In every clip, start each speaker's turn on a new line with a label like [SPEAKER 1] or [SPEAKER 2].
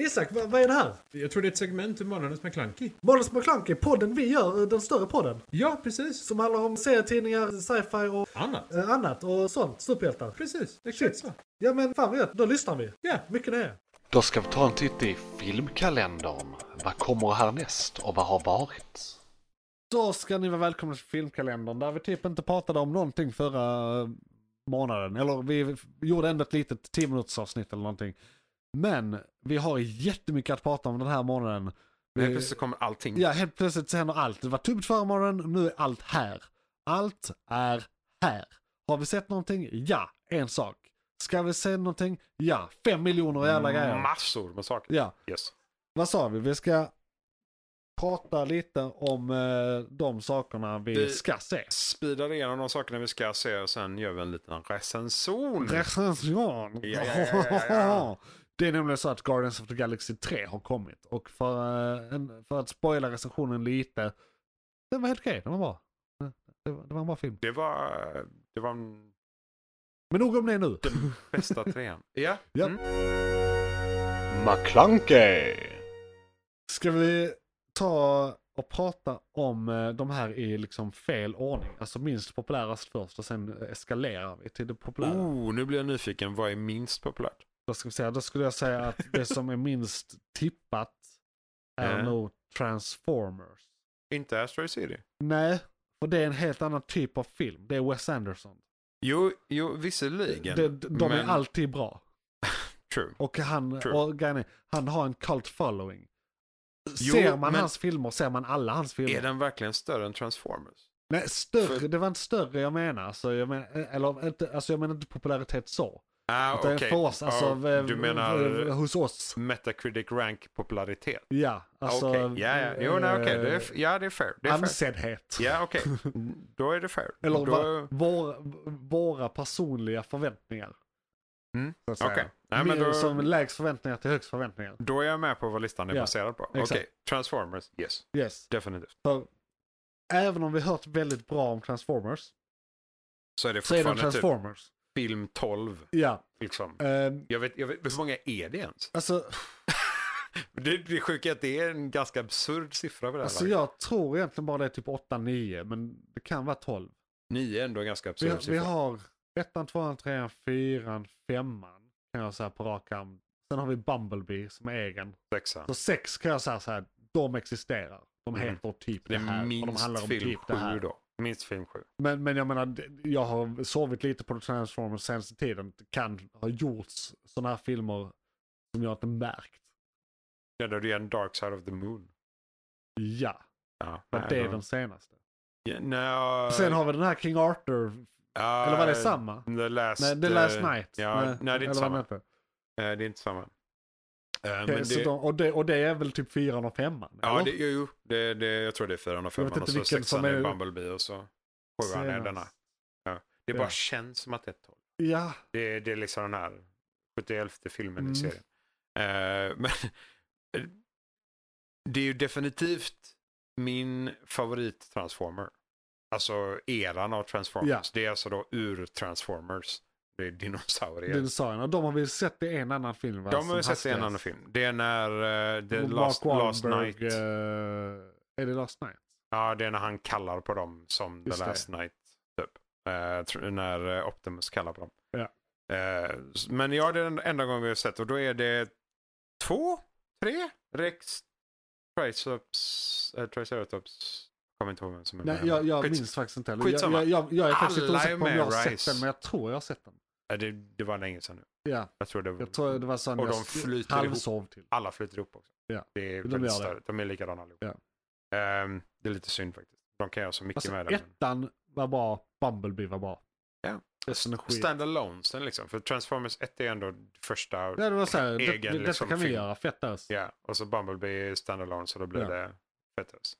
[SPEAKER 1] Isak, vad, vad är det här?
[SPEAKER 2] Jag tror det är ett segment ur Månadens McKlunky.
[SPEAKER 1] Måns McClunky, podden vi gör, eh, den större podden.
[SPEAKER 2] Ja, precis.
[SPEAKER 1] Som handlar om serietidningar, sci-fi och
[SPEAKER 2] Annat.
[SPEAKER 1] eh, annat och sånt. Superhjältar.
[SPEAKER 2] Precis, exakt så.
[SPEAKER 1] Ja men fan vad gött, då lyssnar vi.
[SPEAKER 2] Ja.
[SPEAKER 1] Mycket nöje.
[SPEAKER 3] Då ska vi ta en titt i filmkalendern. Vad kommer härnäst och vad har varit?
[SPEAKER 4] Då ska ni vara välkomna till filmkalendern där vi typ inte pratade om någonting förra eh, månaden. Eller vi gjorde ändå ett litet 10 minuters avsnitt eller någonting. Men vi har jättemycket att prata om den här månaden.
[SPEAKER 5] Men
[SPEAKER 4] Vi-
[SPEAKER 5] plötsligt så kommer allting.
[SPEAKER 4] Ja, helt plötsligt så händer allt. Det var tubbigt förra morgonen, nu är allt här. Allt är här. Har vi sett någonting? Ja, en sak. Ska vi se någonting? Ja, fem miljoner jävla
[SPEAKER 5] Mm.
[SPEAKER 4] grejer.
[SPEAKER 5] Massor med saker.
[SPEAKER 4] Ja,
[SPEAKER 5] Yes.
[SPEAKER 4] vad sa vi? Vi ska prata lite om eh, de sakerna vi
[SPEAKER 5] Vi-
[SPEAKER 4] ska se.
[SPEAKER 5] Speedar igenom de sakerna vi ska se och sen gör vi en liten recension.
[SPEAKER 4] Recension!
[SPEAKER 5] Mm. Ja, ja, ja, ja, ja.
[SPEAKER 4] Det är nämligen så att Guardians of the Galaxy 3 har kommit. Och för, eh, en, för att spoila recensionen lite. Den var helt okej, den var bra. Det var, det var en bra film.
[SPEAKER 5] det var, det var den
[SPEAKER 4] Men nog om det nu.
[SPEAKER 5] bästa trean. ja.
[SPEAKER 4] Ja.
[SPEAKER 5] Mm.
[SPEAKER 3] McClunkey!
[SPEAKER 4] Ska vi ta och prata om eh, de här i liksom fel ordning? Alltså minst populärast först och sen eskalerar vi till det populära.
[SPEAKER 5] Oh, nu blir jag nyfiken. Vad är minst populärt?
[SPEAKER 4] Då, ska vi säga, då skulle jag säga att det som är minst tippat är
[SPEAKER 5] Ja.
[SPEAKER 4] nog Transformers.
[SPEAKER 5] Inte Asteroid City.
[SPEAKER 4] Nej, för det är en helt annan typ av film. Det är Wes Anderson.
[SPEAKER 5] Jo, jo visserligen.
[SPEAKER 4] De, de de är
[SPEAKER 5] men-
[SPEAKER 4] alltid bra.
[SPEAKER 5] True.
[SPEAKER 4] Och han,
[SPEAKER 5] True.
[SPEAKER 4] och grejen är, han har en cult following.
[SPEAKER 5] Jo,
[SPEAKER 4] ser man
[SPEAKER 5] men-
[SPEAKER 4] hans filmer ser man alla hans filmer.
[SPEAKER 5] Är den verkligen större än Transformers?
[SPEAKER 4] Nej, större,
[SPEAKER 5] För-
[SPEAKER 4] det var inte större jag menar. Alltså, jag menar, eller, inte, alltså, jag menar inte popularitet så.
[SPEAKER 5] Ah,
[SPEAKER 4] Utan
[SPEAKER 5] okej.
[SPEAKER 4] för oss, alltså, eh,
[SPEAKER 5] Ah,
[SPEAKER 4] v-
[SPEAKER 5] du menar
[SPEAKER 4] v- hos oss.
[SPEAKER 5] Metacritic Rank popularitet?
[SPEAKER 4] Ja, alltså.
[SPEAKER 5] Okej, ja, ja. Jo, nej, okej. Det är, f-
[SPEAKER 4] eh,
[SPEAKER 5] ja, det är fair. Det är fair.
[SPEAKER 4] ansedhet.
[SPEAKER 5] Ja, okej. Då är det fair.
[SPEAKER 4] Eller
[SPEAKER 5] Då...
[SPEAKER 4] va, våra, våra personliga förväntningar.
[SPEAKER 5] Mm,
[SPEAKER 4] så att säga.
[SPEAKER 5] Okej. Nej, men
[SPEAKER 4] Mer
[SPEAKER 5] då,
[SPEAKER 4] Som lägst förväntningar till högst förväntningar.
[SPEAKER 5] då är jag med på vad listan är
[SPEAKER 4] Ja,
[SPEAKER 5] baserad på. Okej,
[SPEAKER 4] exakt.
[SPEAKER 5] Transformers. Yes,
[SPEAKER 4] Yes.
[SPEAKER 5] definitivt.
[SPEAKER 4] För även om vi hört väldigt bra om Transformers.
[SPEAKER 5] Så är det
[SPEAKER 4] Så är det
[SPEAKER 5] fortfarande typ
[SPEAKER 4] Transformers.
[SPEAKER 5] film 12.
[SPEAKER 4] Ja.
[SPEAKER 5] Liksom.
[SPEAKER 4] ehm,
[SPEAKER 5] Jag vet, jag vet, hur många är det ens?
[SPEAKER 4] alltså,
[SPEAKER 5] Det, det sjuka är att det är en ganska absurd siffra på det här.
[SPEAKER 4] alltså jag tror egentligen bara det är typ 8-9. Men det kan vara 12.
[SPEAKER 5] Nio är ändå en ganska absurd
[SPEAKER 4] Vi, vi
[SPEAKER 5] siffra.
[SPEAKER 4] har ettan, tvåan, trean, fyran, femman kan jag säga på rak arm. Sen har vi Bumblebee som är egen.
[SPEAKER 5] Sexa.
[SPEAKER 4] Så sex kan jag säga så här, de existerar. De
[SPEAKER 5] Mm.
[SPEAKER 4] heter typ det
[SPEAKER 5] Det är
[SPEAKER 4] här och de
[SPEAKER 5] minst
[SPEAKER 4] handlar om
[SPEAKER 5] film
[SPEAKER 4] typ det
[SPEAKER 5] sju
[SPEAKER 4] här.
[SPEAKER 5] då. Minst film sju.
[SPEAKER 4] Men, men jag menar, det- jag har sovit lite på Transformers senaste tiden. Det kan ha gjorts sådana här filmer som jag inte märkt.
[SPEAKER 5] Ja, då är det en Dark Side of the Moon.
[SPEAKER 4] Ja,
[SPEAKER 5] Ja,
[SPEAKER 4] men det är
[SPEAKER 5] då- Äh.
[SPEAKER 4] den senaste.
[SPEAKER 5] Ja, nej,
[SPEAKER 4] Sen har vi den här King Arthur,
[SPEAKER 5] ja, eh,
[SPEAKER 4] eller var det samma?
[SPEAKER 5] The Last,
[SPEAKER 4] Nej, The Last
[SPEAKER 5] eh,
[SPEAKER 4] Night.
[SPEAKER 5] Ja, nej, det är inte
[SPEAKER 4] eller vad
[SPEAKER 5] samma.
[SPEAKER 4] den heter.
[SPEAKER 5] Eh, det är inte samma. Eh,
[SPEAKER 4] Okej,
[SPEAKER 5] men
[SPEAKER 4] så
[SPEAKER 5] det,
[SPEAKER 4] de, och, det, och det är väl typ fyran och femman?
[SPEAKER 5] ja,
[SPEAKER 4] eller?
[SPEAKER 5] det, jo, jo. Det, det, jag tror det är fyran och
[SPEAKER 4] Jag vet
[SPEAKER 5] femman och
[SPEAKER 4] inte
[SPEAKER 5] så
[SPEAKER 4] vilken
[SPEAKER 5] sexan
[SPEAKER 4] som
[SPEAKER 5] är
[SPEAKER 4] är
[SPEAKER 5] Bumblebee och så sjuan är
[SPEAKER 4] Senast.
[SPEAKER 5] denna. Det
[SPEAKER 4] Ja.
[SPEAKER 5] bara känns som att det är ett tolv.
[SPEAKER 4] Ja,
[SPEAKER 5] Det, det är liksom den här 71 filmen
[SPEAKER 4] Mm.
[SPEAKER 5] i serien. Eh, men eh, det är ju definitivt min favorit Transformer. Alltså eran av Transformers.
[SPEAKER 4] Ja.
[SPEAKER 5] Det är alltså då ur Transformers. Det är dinosaurier.
[SPEAKER 4] dinosaurierna. De har vi sett i en annan film va?
[SPEAKER 5] De
[SPEAKER 4] Som
[SPEAKER 5] har sett i
[SPEAKER 4] hastigast.
[SPEAKER 5] en annan film. Det är när eh, The
[SPEAKER 4] Och
[SPEAKER 5] Last,
[SPEAKER 4] Mark
[SPEAKER 5] Last
[SPEAKER 4] Wahlberg,
[SPEAKER 5] Night.
[SPEAKER 4] eh, är det Last Night?
[SPEAKER 5] Ja, det är när han kallar på dem som The
[SPEAKER 4] Just det.
[SPEAKER 5] Last Night. Typ. Eh, tr- när eh, Optimus kallar på dem.
[SPEAKER 4] Ja.
[SPEAKER 5] Eh, s- men ja, det är den enda gången vi har sett och då är det två, tre Rex Triceratops. Eh, Triceratops. Kommer inte ihåg vem som är
[SPEAKER 4] Nej,
[SPEAKER 5] med.
[SPEAKER 4] jag, jag
[SPEAKER 5] Skits-
[SPEAKER 4] minns faktiskt inte heller. Jag,
[SPEAKER 5] skitsamma.
[SPEAKER 4] jag, jag, jag är faktiskt lite
[SPEAKER 5] Alla
[SPEAKER 4] osäker
[SPEAKER 5] är
[SPEAKER 4] på om
[SPEAKER 5] med,
[SPEAKER 4] jag har sett
[SPEAKER 5] Rice.
[SPEAKER 4] den, men jag tror jag har sett den.
[SPEAKER 5] Eh, det, det var länge sedan nu.
[SPEAKER 4] Ja,
[SPEAKER 5] Jag tror det var...
[SPEAKER 4] jag tror det var sån
[SPEAKER 5] Och
[SPEAKER 4] jag
[SPEAKER 5] de
[SPEAKER 4] s-
[SPEAKER 5] flyter
[SPEAKER 4] halvsov till.
[SPEAKER 5] Alla flyter ihop också.
[SPEAKER 4] Ja,
[SPEAKER 5] Det är
[SPEAKER 4] de
[SPEAKER 5] väldigt
[SPEAKER 4] gör det.
[SPEAKER 5] större. De är likadana allihop.
[SPEAKER 4] Ja.
[SPEAKER 5] Ehm, det är lite synd faktiskt. De kan göra så mycket
[SPEAKER 4] Alltså,
[SPEAKER 5] med det. men-
[SPEAKER 4] ettan var bra, Bumblebee var bra.
[SPEAKER 5] Ja.
[SPEAKER 4] Resten är skit.
[SPEAKER 5] Standalonesen liksom. För Transformers 1 är ändå första.
[SPEAKER 4] Ja, det var så här, det,
[SPEAKER 5] Egen,
[SPEAKER 4] detta
[SPEAKER 5] liksom,
[SPEAKER 4] kan vi
[SPEAKER 5] film.
[SPEAKER 4] göra, fett ös.
[SPEAKER 5] Ja, och så Bumblebee är standalone så då blir
[SPEAKER 4] Ja.
[SPEAKER 5] det Fetus.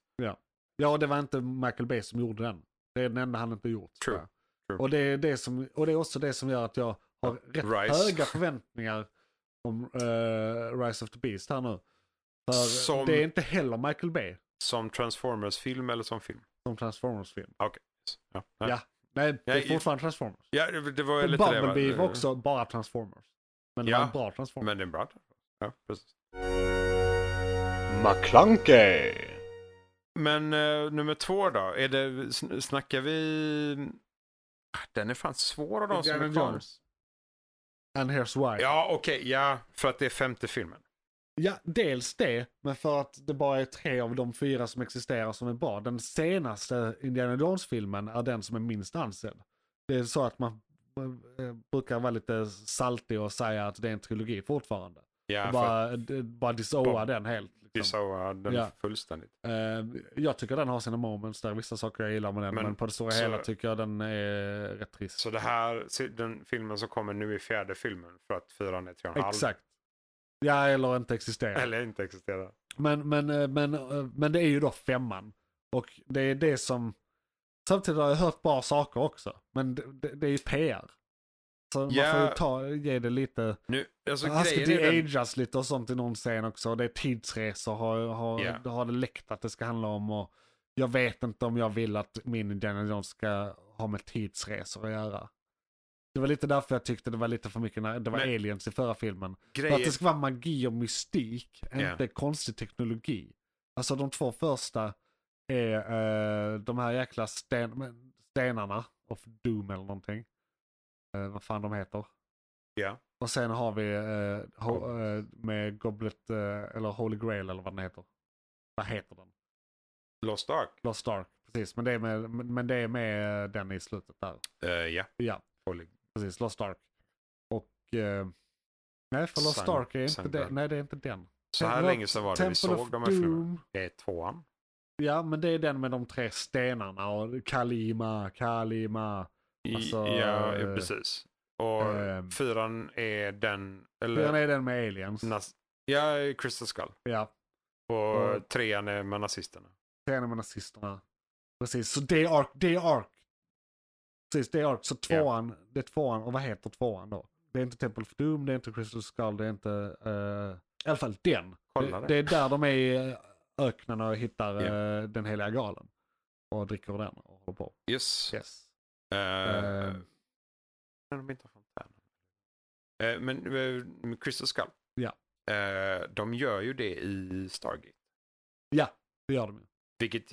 [SPEAKER 4] Ja, och det var inte Michael Bay som gjorde den. Det är den enda han inte gjort. tror
[SPEAKER 5] True.
[SPEAKER 4] jag.
[SPEAKER 5] True.
[SPEAKER 4] Och, det är det som, och det är också det som gör att jag har rätt
[SPEAKER 5] Rise.
[SPEAKER 4] höga förväntningar om eh, Rise of the Beast här nu. För
[SPEAKER 5] Som-
[SPEAKER 4] det är inte heller Michael Bay
[SPEAKER 5] Som Transformers-film eller som film?
[SPEAKER 4] som Transformers-film.
[SPEAKER 5] Ja,
[SPEAKER 4] Ja. Nej, det är
[SPEAKER 5] Nej,
[SPEAKER 4] fortfarande Transformers.
[SPEAKER 5] ja det, det var
[SPEAKER 4] Men
[SPEAKER 5] lite det. va?
[SPEAKER 4] Bumblebee var också bara Transformers. Men det
[SPEAKER 5] Ja,
[SPEAKER 4] var en bra Transformers.
[SPEAKER 5] Men det är bra. Ja, precis.
[SPEAKER 3] McClunkey!
[SPEAKER 5] Men eh, nummer två då? Är det, sn- snackar vi... Ah, Den är fan svår av de som är
[SPEAKER 4] Indiana
[SPEAKER 5] kvar.
[SPEAKER 4] Jones. And here's why.
[SPEAKER 5] Ja, okej. ja, för att det är femte filmen.
[SPEAKER 4] Ja, dels det, men för att det bara är tre av de fyra som existerar som är bra. Den senaste Indiana Jones-filmen är den som är minst ansedd. Det är så att man eh, brukar vara lite saltig och säga att det är en trilogi fortfarande.
[SPEAKER 5] Ja,
[SPEAKER 4] och
[SPEAKER 5] för att
[SPEAKER 4] bara, d- bara dissoa
[SPEAKER 5] Bara-
[SPEAKER 4] den helt.
[SPEAKER 5] vi
[SPEAKER 4] Liksom.
[SPEAKER 5] sa den
[SPEAKER 4] Ja.
[SPEAKER 5] fullständigt.
[SPEAKER 4] Eh, jag tycker den har sina moments där, vissa saker jag gillar med den, men,
[SPEAKER 5] Men
[SPEAKER 4] på det stora
[SPEAKER 5] så-
[SPEAKER 4] hela tycker jag den är rätt trist.
[SPEAKER 5] Så det här, se- den filmen som kommer nu i fjärde filmen för att fyran är tre och en halv.
[SPEAKER 4] Exakt. Ja, eller inte existerar.
[SPEAKER 5] Eller inte existerar.
[SPEAKER 4] Men, men, eh, men, eh, men det är ju då femman. Och det är det som... Samtidigt har jag hört bra saker också. Men det, det, det är ju PR. Så
[SPEAKER 5] Ja.
[SPEAKER 4] man får ju ta, ge det lite...
[SPEAKER 5] Nu, alltså
[SPEAKER 4] han ska
[SPEAKER 5] grejen är den,
[SPEAKER 4] de-ageas lite och sånt i någon scen också. Och det är tidsresor har, har,
[SPEAKER 5] Ja.
[SPEAKER 4] det har det läckt att det ska handla om. Och jag vet inte om jag vill att min Indiana Jones ska ha med tidsresor att göra. Det var lite därför jag tyckte det var lite för mycket när det var
[SPEAKER 5] Men-
[SPEAKER 4] aliens i förra filmen. För
[SPEAKER 5] grejen,
[SPEAKER 4] att det ska vara magi och mystik,
[SPEAKER 5] Ja.
[SPEAKER 4] inte konstig teknologi. Alltså de två första är eh, de här jäkla sten, men- stenarna of doom eller någonting. Eh, vad fan de heter.
[SPEAKER 5] Ja.
[SPEAKER 4] Och sen har vi eh, ho- eh, med Goblet, eh, eller Holy Grail eller vad den heter. Vad heter den?
[SPEAKER 5] Lost Ark.
[SPEAKER 4] Lost Ark, precis. Men det är med, men men det är med eh, den i slutet där.
[SPEAKER 5] Eh, ja,
[SPEAKER 4] Ja,
[SPEAKER 5] Holy-
[SPEAKER 4] precis. Lost Ark. Och... Eh, nej, för Lost
[SPEAKER 5] Sun-
[SPEAKER 4] Ark är inte,
[SPEAKER 5] Sun
[SPEAKER 4] det,
[SPEAKER 5] Guard.
[SPEAKER 4] nej, det är inte den.
[SPEAKER 5] så här
[SPEAKER 4] Temple of-
[SPEAKER 5] länge sedan var det
[SPEAKER 4] Temple
[SPEAKER 5] vi såg
[SPEAKER 4] of
[SPEAKER 5] de här filmerna.
[SPEAKER 4] Doom.
[SPEAKER 5] Det är tvåan.
[SPEAKER 4] Ja, men det är den med de tre stenarna och Kalima, Kalima.
[SPEAKER 5] I-
[SPEAKER 4] Alltså,
[SPEAKER 5] ja,
[SPEAKER 4] eh,
[SPEAKER 5] precis. Och
[SPEAKER 4] ehm,
[SPEAKER 5] fyran är den... Eller,
[SPEAKER 4] Den är den med aliens.
[SPEAKER 5] nas- ja, Crystal Skull.
[SPEAKER 4] Ja,
[SPEAKER 5] Och
[SPEAKER 4] Mm.
[SPEAKER 5] trean är med nazisterna.
[SPEAKER 4] den är med nazisterna. Precis, så det är ark, det är ark. Precis, det är ark. Så
[SPEAKER 5] Ja.
[SPEAKER 4] tvåan, det är tvåan, och vad heter tvåan då? Det är inte Temple of Doom, det är inte Crystal Skull, det är inte... eh, I alla fall den.
[SPEAKER 5] Kolla
[SPEAKER 4] det,
[SPEAKER 5] det.
[SPEAKER 4] det är där de är i eh, öknen och hittar
[SPEAKER 5] Ja.
[SPEAKER 4] eh, den heliga galen. Och dricker ur den och håller på.
[SPEAKER 5] Yes.
[SPEAKER 4] Yes.
[SPEAKER 5] Eh,
[SPEAKER 4] Eh,
[SPEAKER 5] men de inte har fontänen. Eh, men eh, med Crystal Skull.
[SPEAKER 4] Ja.
[SPEAKER 5] Eh, de gör ju det i Stargate.
[SPEAKER 4] det gör de ju.
[SPEAKER 5] Vilket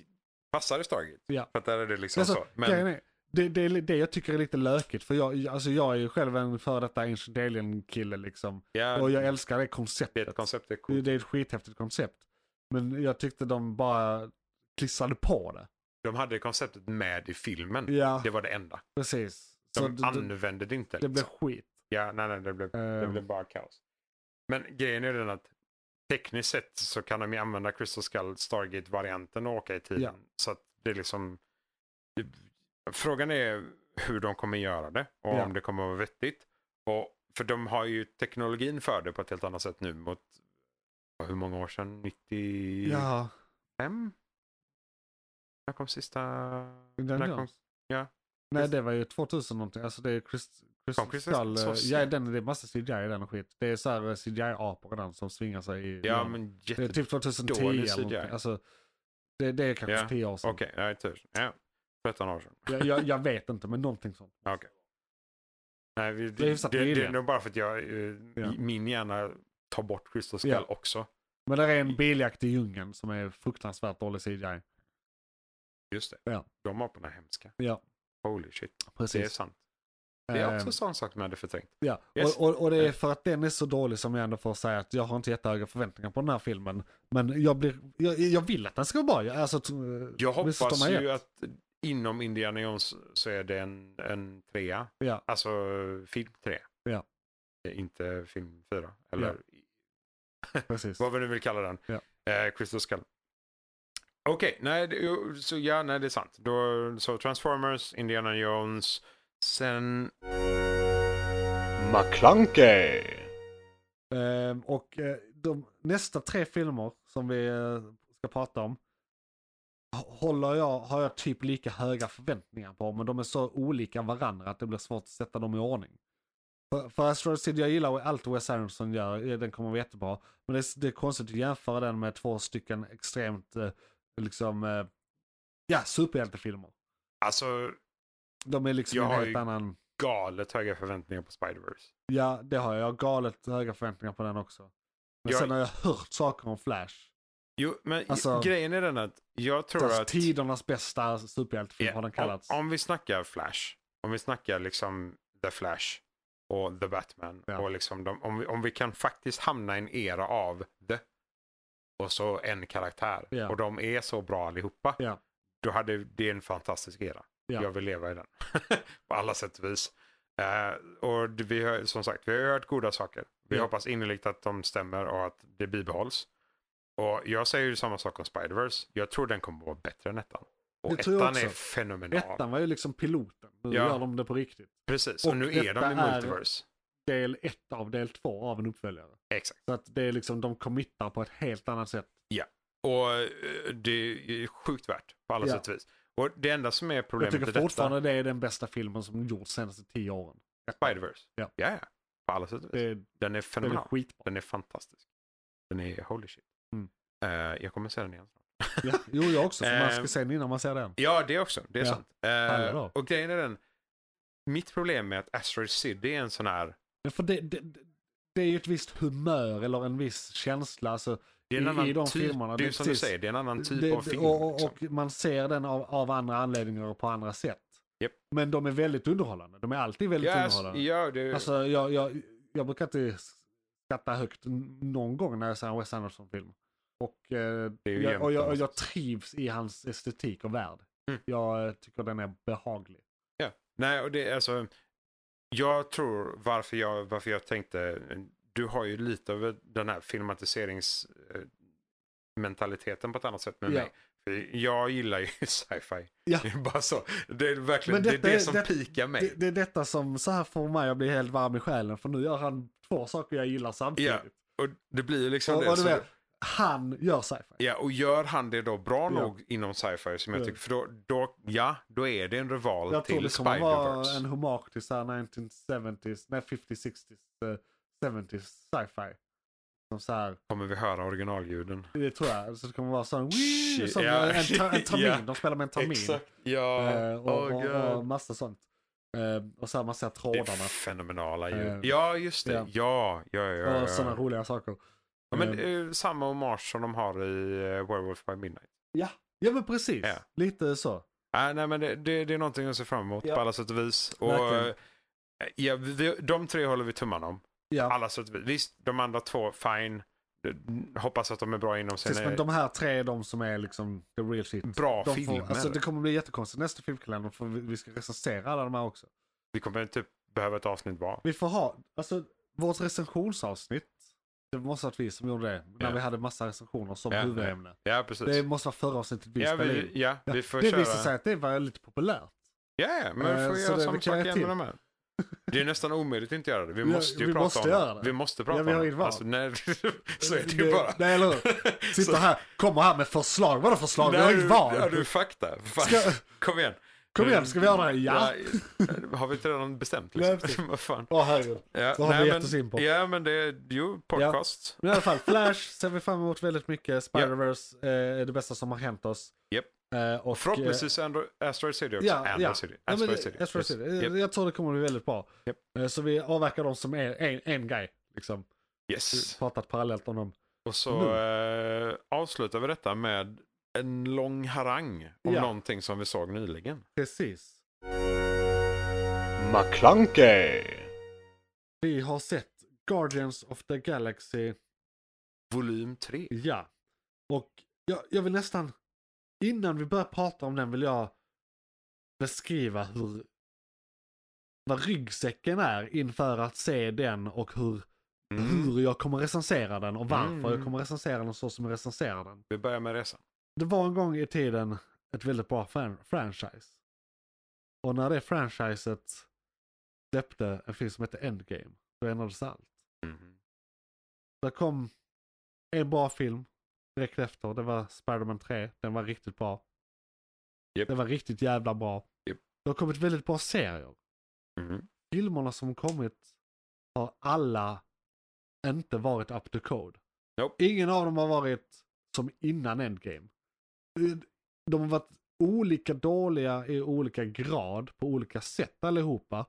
[SPEAKER 5] passar i Stargate.
[SPEAKER 4] Ja.
[SPEAKER 5] För att där är det liksom
[SPEAKER 4] Alltså,
[SPEAKER 5] så. Men
[SPEAKER 4] Grejen är, det, det är li- det jag tycker är lite lökigt, för jag, alltså jag är ju själv en före detta Ancient Alien-kille liksom.
[SPEAKER 5] ja,
[SPEAKER 4] Och jag älskar det
[SPEAKER 5] det är
[SPEAKER 4] konceptet.
[SPEAKER 5] ett koncept. Det är
[SPEAKER 4] Det-
[SPEAKER 5] coolt.
[SPEAKER 4] det är ett skithäftigt koncept. Men jag tyckte de bara klissade på det.
[SPEAKER 5] De hade konceptet med i filmen.
[SPEAKER 4] Ja,
[SPEAKER 5] Det var det enda.
[SPEAKER 4] precis. Så
[SPEAKER 5] De
[SPEAKER 4] det, det,
[SPEAKER 5] använde det inte.
[SPEAKER 4] det blev
[SPEAKER 5] liksom.
[SPEAKER 4] skit.
[SPEAKER 5] Ja, nej, nej, det blev Det
[SPEAKER 4] Ehm,
[SPEAKER 5] blev bara kaos. Men grejen är den att tekniskt sett så kan de ju använda Crystal Skull Stargate-varianten och åka i tiden.
[SPEAKER 4] Ja.
[SPEAKER 5] Så att det är liksom... Frågan är hur de kommer göra det och
[SPEAKER 4] Ja.
[SPEAKER 5] om det kommer att vara vettigt. Och, för de har ju teknologin för det på ett helt annat sätt nu mot hur många år sedan? 95?
[SPEAKER 4] Ja,
[SPEAKER 5] När kom sista...
[SPEAKER 4] Indiana
[SPEAKER 5] När kom-
[SPEAKER 4] Jones.
[SPEAKER 5] ja.
[SPEAKER 4] Nej, det var ju 2000 någonting. Alltså det är Chris, Chris
[SPEAKER 5] Kom
[SPEAKER 4] Skull,
[SPEAKER 5] Crystal så
[SPEAKER 4] eh, Ja,
[SPEAKER 5] sent?
[SPEAKER 4] den, det är massa CGI i den och skit. Det är så här eh, CGI-apor den som svingar sig i...
[SPEAKER 5] Ja, men
[SPEAKER 4] Det är
[SPEAKER 5] jätte...
[SPEAKER 4] typ 2010
[SPEAKER 5] dålig
[SPEAKER 4] eller
[SPEAKER 5] CGI.
[SPEAKER 4] någonting. Alltså, det, det är kanske
[SPEAKER 5] Ja,
[SPEAKER 4] 10 år sedan.
[SPEAKER 5] Okej, nej, tur. Ja, 13 år sedan.
[SPEAKER 4] Jag, jag, jag vet inte, men någonting sånt.
[SPEAKER 5] Ja, Okej. Nej, vi,
[SPEAKER 4] Det är
[SPEAKER 5] det,
[SPEAKER 4] hyfsat
[SPEAKER 5] det, det är
[SPEAKER 4] nyligen.
[SPEAKER 5] nog bara för att jag, eh,
[SPEAKER 4] Ja.
[SPEAKER 5] min hjärna tar bort Crystal Skull
[SPEAKER 4] Ja.
[SPEAKER 5] också.
[SPEAKER 4] Men det är en biljakt i djungeln som är fruktansvärt dålig CGI.
[SPEAKER 5] Just det.
[SPEAKER 4] Ja.
[SPEAKER 5] De aporna är hemska.
[SPEAKER 4] Ja,
[SPEAKER 5] Holy shit. Det är
[SPEAKER 4] precis.
[SPEAKER 5] sant. Det är också
[SPEAKER 4] Ehm,
[SPEAKER 5] en sån sak man hade förträngt.
[SPEAKER 4] Ja,
[SPEAKER 5] Yes.
[SPEAKER 4] och, och, och det är för att den är så dålig som jag ändå får säga att jag har inte jättehöga förväntningar på den här filmen. Men jag, blir, jag, jag vill att den ska vara bra. Jag- Alltså, t-
[SPEAKER 5] Jag
[SPEAKER 4] missförstå
[SPEAKER 5] hoppas
[SPEAKER 4] mig
[SPEAKER 5] ju
[SPEAKER 4] rätt.
[SPEAKER 5] att inom Indiana Jones så är det en, en trea.
[SPEAKER 4] Ja.
[SPEAKER 5] Alltså film tre.
[SPEAKER 4] Ja.
[SPEAKER 5] Eh, Inte film fyra. Eller
[SPEAKER 4] Precis.
[SPEAKER 5] vad vi nu vill kalla den.
[SPEAKER 4] Ja.
[SPEAKER 5] Eh, Crystal Skull. Okej, nej, det- jo, så ja, nej, det är sant. Då, så Transformers, Indiana Jones, sen
[SPEAKER 3] McClunkey!
[SPEAKER 4] Ehm, och eh, de nästa tre filmer som vi eh, ska prata om h- håller jag, har jag typ lika höga förväntningar på, men de är så olika varandra att det blir svårt att sätta dem i ordning. För, för Asteroid City, jag gillar allt Wes Anderson gör, eh, den kommer vara jättebra. Men det är, s- det är konstigt att jämföra den med två stycken extremt, eh, liksom, eh, ja, superhjältefilmer.
[SPEAKER 5] Alltså
[SPEAKER 4] De är liksom
[SPEAKER 5] Jag
[SPEAKER 4] en
[SPEAKER 5] har
[SPEAKER 4] helt
[SPEAKER 5] ju-
[SPEAKER 4] annan,
[SPEAKER 5] galet höga förväntningar på Spider-Verse.
[SPEAKER 4] ja det har jag, jag har galet höga förväntningar på den också. Men
[SPEAKER 5] Jag-
[SPEAKER 4] sen har jag hört saker om Flash.
[SPEAKER 5] Jo, men
[SPEAKER 4] Alltså-
[SPEAKER 5] grejen är den att jag tror
[SPEAKER 4] Alltså,
[SPEAKER 5] att...
[SPEAKER 4] Tidernas bästa superhjältefilm
[SPEAKER 5] Ja,
[SPEAKER 4] har den
[SPEAKER 5] om-
[SPEAKER 4] kallats.
[SPEAKER 5] Om, vi snackar Flash, om vi snackar liksom The Flash och The Batman.
[SPEAKER 4] Ja.
[SPEAKER 5] Och liksom de, om, vi, om vi kan faktiskt hamna i en era av The och så en karaktär.
[SPEAKER 4] Ja.
[SPEAKER 5] Och de är så bra allihopa.
[SPEAKER 4] Ja.
[SPEAKER 5] Då hade det är en fantastisk era.
[SPEAKER 4] Ja.
[SPEAKER 5] Jag vill leva i den. På alla sätt och vis. Eh, och det- vi har som sagt vi har hört goda saker. Vi
[SPEAKER 4] Ja.
[SPEAKER 5] hoppas innerligt att de stämmer och att det bibehålls. Och jag säger ju samma sak om Spider-Verse. Jag tror den kommer vara bättre än ettan. Och
[SPEAKER 4] Det tror jag
[SPEAKER 5] ettan är
[SPEAKER 4] också.
[SPEAKER 5] fenomenal.
[SPEAKER 4] Ettan var ju liksom piloten. Nu
[SPEAKER 5] Ja.
[SPEAKER 4] gör de det på riktigt.
[SPEAKER 5] Precis,
[SPEAKER 4] Och
[SPEAKER 5] och, nu är de
[SPEAKER 4] detta
[SPEAKER 5] i
[SPEAKER 4] är-
[SPEAKER 5] multiverse.
[SPEAKER 4] Del ett av del två av en uppföljare.
[SPEAKER 5] Exakt.
[SPEAKER 4] Så att det är liksom, de committar på ett helt annat sätt.
[SPEAKER 5] Och eh, det är sjukt värt på alla
[SPEAKER 4] Ja.
[SPEAKER 5] sätt och vis. Och det enda som är
[SPEAKER 4] Jag
[SPEAKER 5] problemet
[SPEAKER 4] tycker
[SPEAKER 5] med detta,
[SPEAKER 4] fortfarande det är den bästa filmen som gjorts senaste tio åren.
[SPEAKER 5] Spider-Verse.
[SPEAKER 4] Ja.
[SPEAKER 5] ja, ja. på alla sätt och vis.
[SPEAKER 4] Det är,
[SPEAKER 5] Den är
[SPEAKER 4] den är
[SPEAKER 5] fenomenal.
[SPEAKER 4] skitbra.
[SPEAKER 5] Den är fantastisk. Den är holy shit.
[SPEAKER 4] Mm.
[SPEAKER 5] Eh, jag kommer se den igen.
[SPEAKER 4] Ja. Jo, jag också. För man ska
[SPEAKER 5] Ehm.
[SPEAKER 4] se den innan man ser den.
[SPEAKER 5] Ja, det också. Det är
[SPEAKER 4] Ja.
[SPEAKER 5] sant. Eh,
[SPEAKER 4] Alla dagar.
[SPEAKER 5] och grejen är den, mitt problem med att Asteroid City är en sån här,
[SPEAKER 4] Men för det, det, det- det är ju ett visst humör eller en viss känsla. Alltså,
[SPEAKER 5] det är en
[SPEAKER 4] I-
[SPEAKER 5] annan
[SPEAKER 4] i de
[SPEAKER 5] typ,
[SPEAKER 4] filmerna,
[SPEAKER 5] det är
[SPEAKER 4] det-
[SPEAKER 5] som
[SPEAKER 4] precis.
[SPEAKER 5] du säger, det är en annan typ
[SPEAKER 4] det,
[SPEAKER 5] av film.
[SPEAKER 4] och, och,
[SPEAKER 5] liksom.
[SPEAKER 4] och man ser den av, av andra anledningar och på andra sätt.
[SPEAKER 5] Japp.
[SPEAKER 4] Men de är väldigt underhållande. De är alltid väldigt
[SPEAKER 5] ja,
[SPEAKER 4] underhållande.
[SPEAKER 5] ja, det,
[SPEAKER 4] Alltså, jag, jag, jag brukar inte skratta högt n- någon gång när jag ser en Wes Anderson-film. Och, eh,
[SPEAKER 5] Det är ju
[SPEAKER 4] jag,
[SPEAKER 5] jämnt
[SPEAKER 4] och, jag, och
[SPEAKER 5] annars.
[SPEAKER 4] jag trivs i hans estetik och värld.
[SPEAKER 5] Mm.
[SPEAKER 4] Jag eh, tycker den är behaglig.
[SPEAKER 5] Ja, nej och det är alltså. Jag tror varför jag, varför jag tänkte, du har ju lite av den här filmatiseringsmentaliteten på ett annat sätt med
[SPEAKER 4] Ja.
[SPEAKER 5] mig. För Jag gillar ju sci-fi.
[SPEAKER 4] Ja.
[SPEAKER 5] Det är bara så. Det är verkligen
[SPEAKER 4] Men
[SPEAKER 5] det, är
[SPEAKER 4] detta
[SPEAKER 5] det
[SPEAKER 4] är-
[SPEAKER 5] som
[SPEAKER 4] det-
[SPEAKER 5] pikar mig.
[SPEAKER 4] Det, det är detta som så här får mig att bli helt varm i själen. För nu gör han två saker jag gillar samtidigt.
[SPEAKER 5] Ja, och det blir ju liksom
[SPEAKER 4] och,
[SPEAKER 5] det.
[SPEAKER 4] och du
[SPEAKER 5] så-
[SPEAKER 4] vet, han gör sci-fi.
[SPEAKER 5] Ja, och gör han det då bra
[SPEAKER 4] Ja.
[SPEAKER 5] nog inom sci-fi som jag
[SPEAKER 4] Ja.
[SPEAKER 5] tycker, för då, då, ja, då är det en rival
[SPEAKER 4] Jag tror
[SPEAKER 5] till
[SPEAKER 4] det kommer vara
[SPEAKER 5] Spider-Verse.
[SPEAKER 4] en hommage till så här 1970s, nej 50s, 60s, eh, 70s sci-fi. Som så här,
[SPEAKER 5] Kommer vi höra originalljuden?
[SPEAKER 4] det tror jag. Så det kommer vara sån,
[SPEAKER 5] Shit,
[SPEAKER 4] som
[SPEAKER 5] ja.
[SPEAKER 4] en, ta, en termin,
[SPEAKER 5] Ja.
[SPEAKER 4] de spelar med en termin.
[SPEAKER 5] ja.
[SPEAKER 4] Eh, och,
[SPEAKER 5] Åh,
[SPEAKER 4] och,
[SPEAKER 5] gud.
[SPEAKER 4] och massa sånt. Eh, och så här man ser
[SPEAKER 5] Det
[SPEAKER 4] trådarna
[SPEAKER 5] är fenomenala ljud.
[SPEAKER 4] Eh,
[SPEAKER 5] ja, just det.
[SPEAKER 4] ja.
[SPEAKER 5] Ja, ja, ja. ja, ja.
[SPEAKER 4] och sådana roliga saker.
[SPEAKER 5] ja men
[SPEAKER 4] Eh,
[SPEAKER 5] eh, samma hommage som de har i eh, Werewolf by Midnight.
[SPEAKER 4] ja men precis,
[SPEAKER 5] ja.
[SPEAKER 4] lite så.
[SPEAKER 5] Äh, nej, men det, det, det är någonting jag ser fram emot
[SPEAKER 4] Ja.
[SPEAKER 5] på alla sätt och vis. Och,
[SPEAKER 4] Verkligen.
[SPEAKER 5] eh, ja, vi, de tre håller vi tummarna om.
[SPEAKER 4] Ja,
[SPEAKER 5] Alla sätt och vis. Visst, de andra två, fine. Eh, Hoppas att de är bra inom
[SPEAKER 4] precis,
[SPEAKER 5] sina
[SPEAKER 4] men de här tre är de som är liksom the real shit.
[SPEAKER 5] bra
[SPEAKER 4] De får,
[SPEAKER 5] filmer.
[SPEAKER 4] alltså det kommer bli jättekonstigt nästa filmkalender för vi, vi ska recensera alla de här också.
[SPEAKER 5] Vi kommer typ behöva ett avsnitt var.
[SPEAKER 4] Vi får ha, alltså vårt recensionsavsnitt. Det måste att vi som gjorde det. När
[SPEAKER 5] Ja.
[SPEAKER 4] vi hade massa recensioner som
[SPEAKER 5] Ja, ja.
[SPEAKER 4] huvudämne.
[SPEAKER 5] Ja, precis.
[SPEAKER 4] Det måste vara förra avsnittet vi
[SPEAKER 5] ja,
[SPEAKER 4] spelade
[SPEAKER 5] vi,
[SPEAKER 4] in.
[SPEAKER 5] ja,
[SPEAKER 4] Ja,
[SPEAKER 5] vi får
[SPEAKER 4] det
[SPEAKER 5] köra.
[SPEAKER 4] visade sig att det var lite populärt.
[SPEAKER 5] Ja, ja, men vi
[SPEAKER 4] Eh,
[SPEAKER 5] får
[SPEAKER 4] så
[SPEAKER 5] göra
[SPEAKER 4] det-
[SPEAKER 5] samma
[SPEAKER 4] vi kan
[SPEAKER 5] sak
[SPEAKER 4] göra
[SPEAKER 5] igen
[SPEAKER 4] till.
[SPEAKER 5] med de här. Det är nästan omöjligt att inte göra det. Vi
[SPEAKER 4] Ja,
[SPEAKER 5] måste ju
[SPEAKER 4] vi
[SPEAKER 5] prata
[SPEAKER 4] måste
[SPEAKER 5] om
[SPEAKER 4] göra det.
[SPEAKER 5] Vi måste prata
[SPEAKER 4] Ja, vi har
[SPEAKER 5] om
[SPEAKER 4] inget val.
[SPEAKER 5] Alltså, nej, så är det ju bara.
[SPEAKER 4] Nej, eller hur? Sitter
[SPEAKER 5] Så-
[SPEAKER 4] här, kommer här med förslag. Vadå förslag? Vi har
[SPEAKER 5] Nej,
[SPEAKER 4] inget val.
[SPEAKER 5] Ja, du fakta. Fan.
[SPEAKER 4] Ska-
[SPEAKER 5] Kom igen.
[SPEAKER 4] Kom igen, ska vi göra det här? Ja.
[SPEAKER 5] Ja, har vi inte redan bestämt
[SPEAKER 4] Nej,
[SPEAKER 5] liksom?
[SPEAKER 4] precis.
[SPEAKER 5] Vad fan.
[SPEAKER 4] Åh herregud.
[SPEAKER 5] Ja,
[SPEAKER 4] Vad har vi gett
[SPEAKER 5] men-
[SPEAKER 4] oss in på?
[SPEAKER 5] Ja, men det är ju podcast.
[SPEAKER 4] Men i alla fall, Flash ser vi fram emot väldigt mycket. Spider-Verse eh, är det bästa som har hänt oss.
[SPEAKER 5] Japp.
[SPEAKER 4] Eh, och,
[SPEAKER 5] Och förhoppningsvis Andro- Asteroid City också.
[SPEAKER 4] Ja,
[SPEAKER 5] Android
[SPEAKER 4] ja.
[SPEAKER 5] City.
[SPEAKER 4] Ja, men,
[SPEAKER 5] Asteroid City.
[SPEAKER 4] Asteroid
[SPEAKER 5] Yes.
[SPEAKER 4] City.
[SPEAKER 5] Yep.
[SPEAKER 4] Eh, Jag tror det kommer bli väldigt bra.
[SPEAKER 5] Japp.
[SPEAKER 4] Eh, Så vi avverkar dem som är en, en guy. Liksom.
[SPEAKER 5] Yes.
[SPEAKER 4] Pratat parallellt om dem.
[SPEAKER 5] Och så
[SPEAKER 4] Mm.
[SPEAKER 5] eh, avslutar vi detta med en lång harang om
[SPEAKER 4] Ja.
[SPEAKER 5] någonting som vi såg nyligen.
[SPEAKER 4] Precis.
[SPEAKER 3] McClunkey!
[SPEAKER 4] Vi har sett Guardians of the Galaxy.
[SPEAKER 5] Volym 3.
[SPEAKER 4] Ja. Och jag, jag vill nästan, innan vi börjar prata om den vill jag beskriva hur vad ryggsäcken är inför att se den och hur,
[SPEAKER 5] Mm.
[SPEAKER 4] hur jag kommer recensera den och varför
[SPEAKER 5] Mm.
[SPEAKER 4] jag kommer recensera den så som jag recenserar den.
[SPEAKER 5] Vi börjar med resan.
[SPEAKER 4] Det var en gång i tiden ett väldigt bra fran- franchise. Och när det franchiset släppte en film som hette Endgame, då ändrades allt. Mm-hmm.
[SPEAKER 5] Mhm.
[SPEAKER 4] Där kom en bra film direkt efter. Det var Spider-Man 3. Den var riktigt bra.
[SPEAKER 5] Japp.
[SPEAKER 4] Den var riktigt jävla bra.
[SPEAKER 5] Japp.
[SPEAKER 4] Det har kommit väldigt bra serier.
[SPEAKER 5] Mhm.
[SPEAKER 4] Filmerna som kommit har alla inte varit up to code.
[SPEAKER 5] Nope.
[SPEAKER 4] Ingen av dem har varit som innan Endgame. De har varit olika dåliga i olika grad på olika sätt allihopa.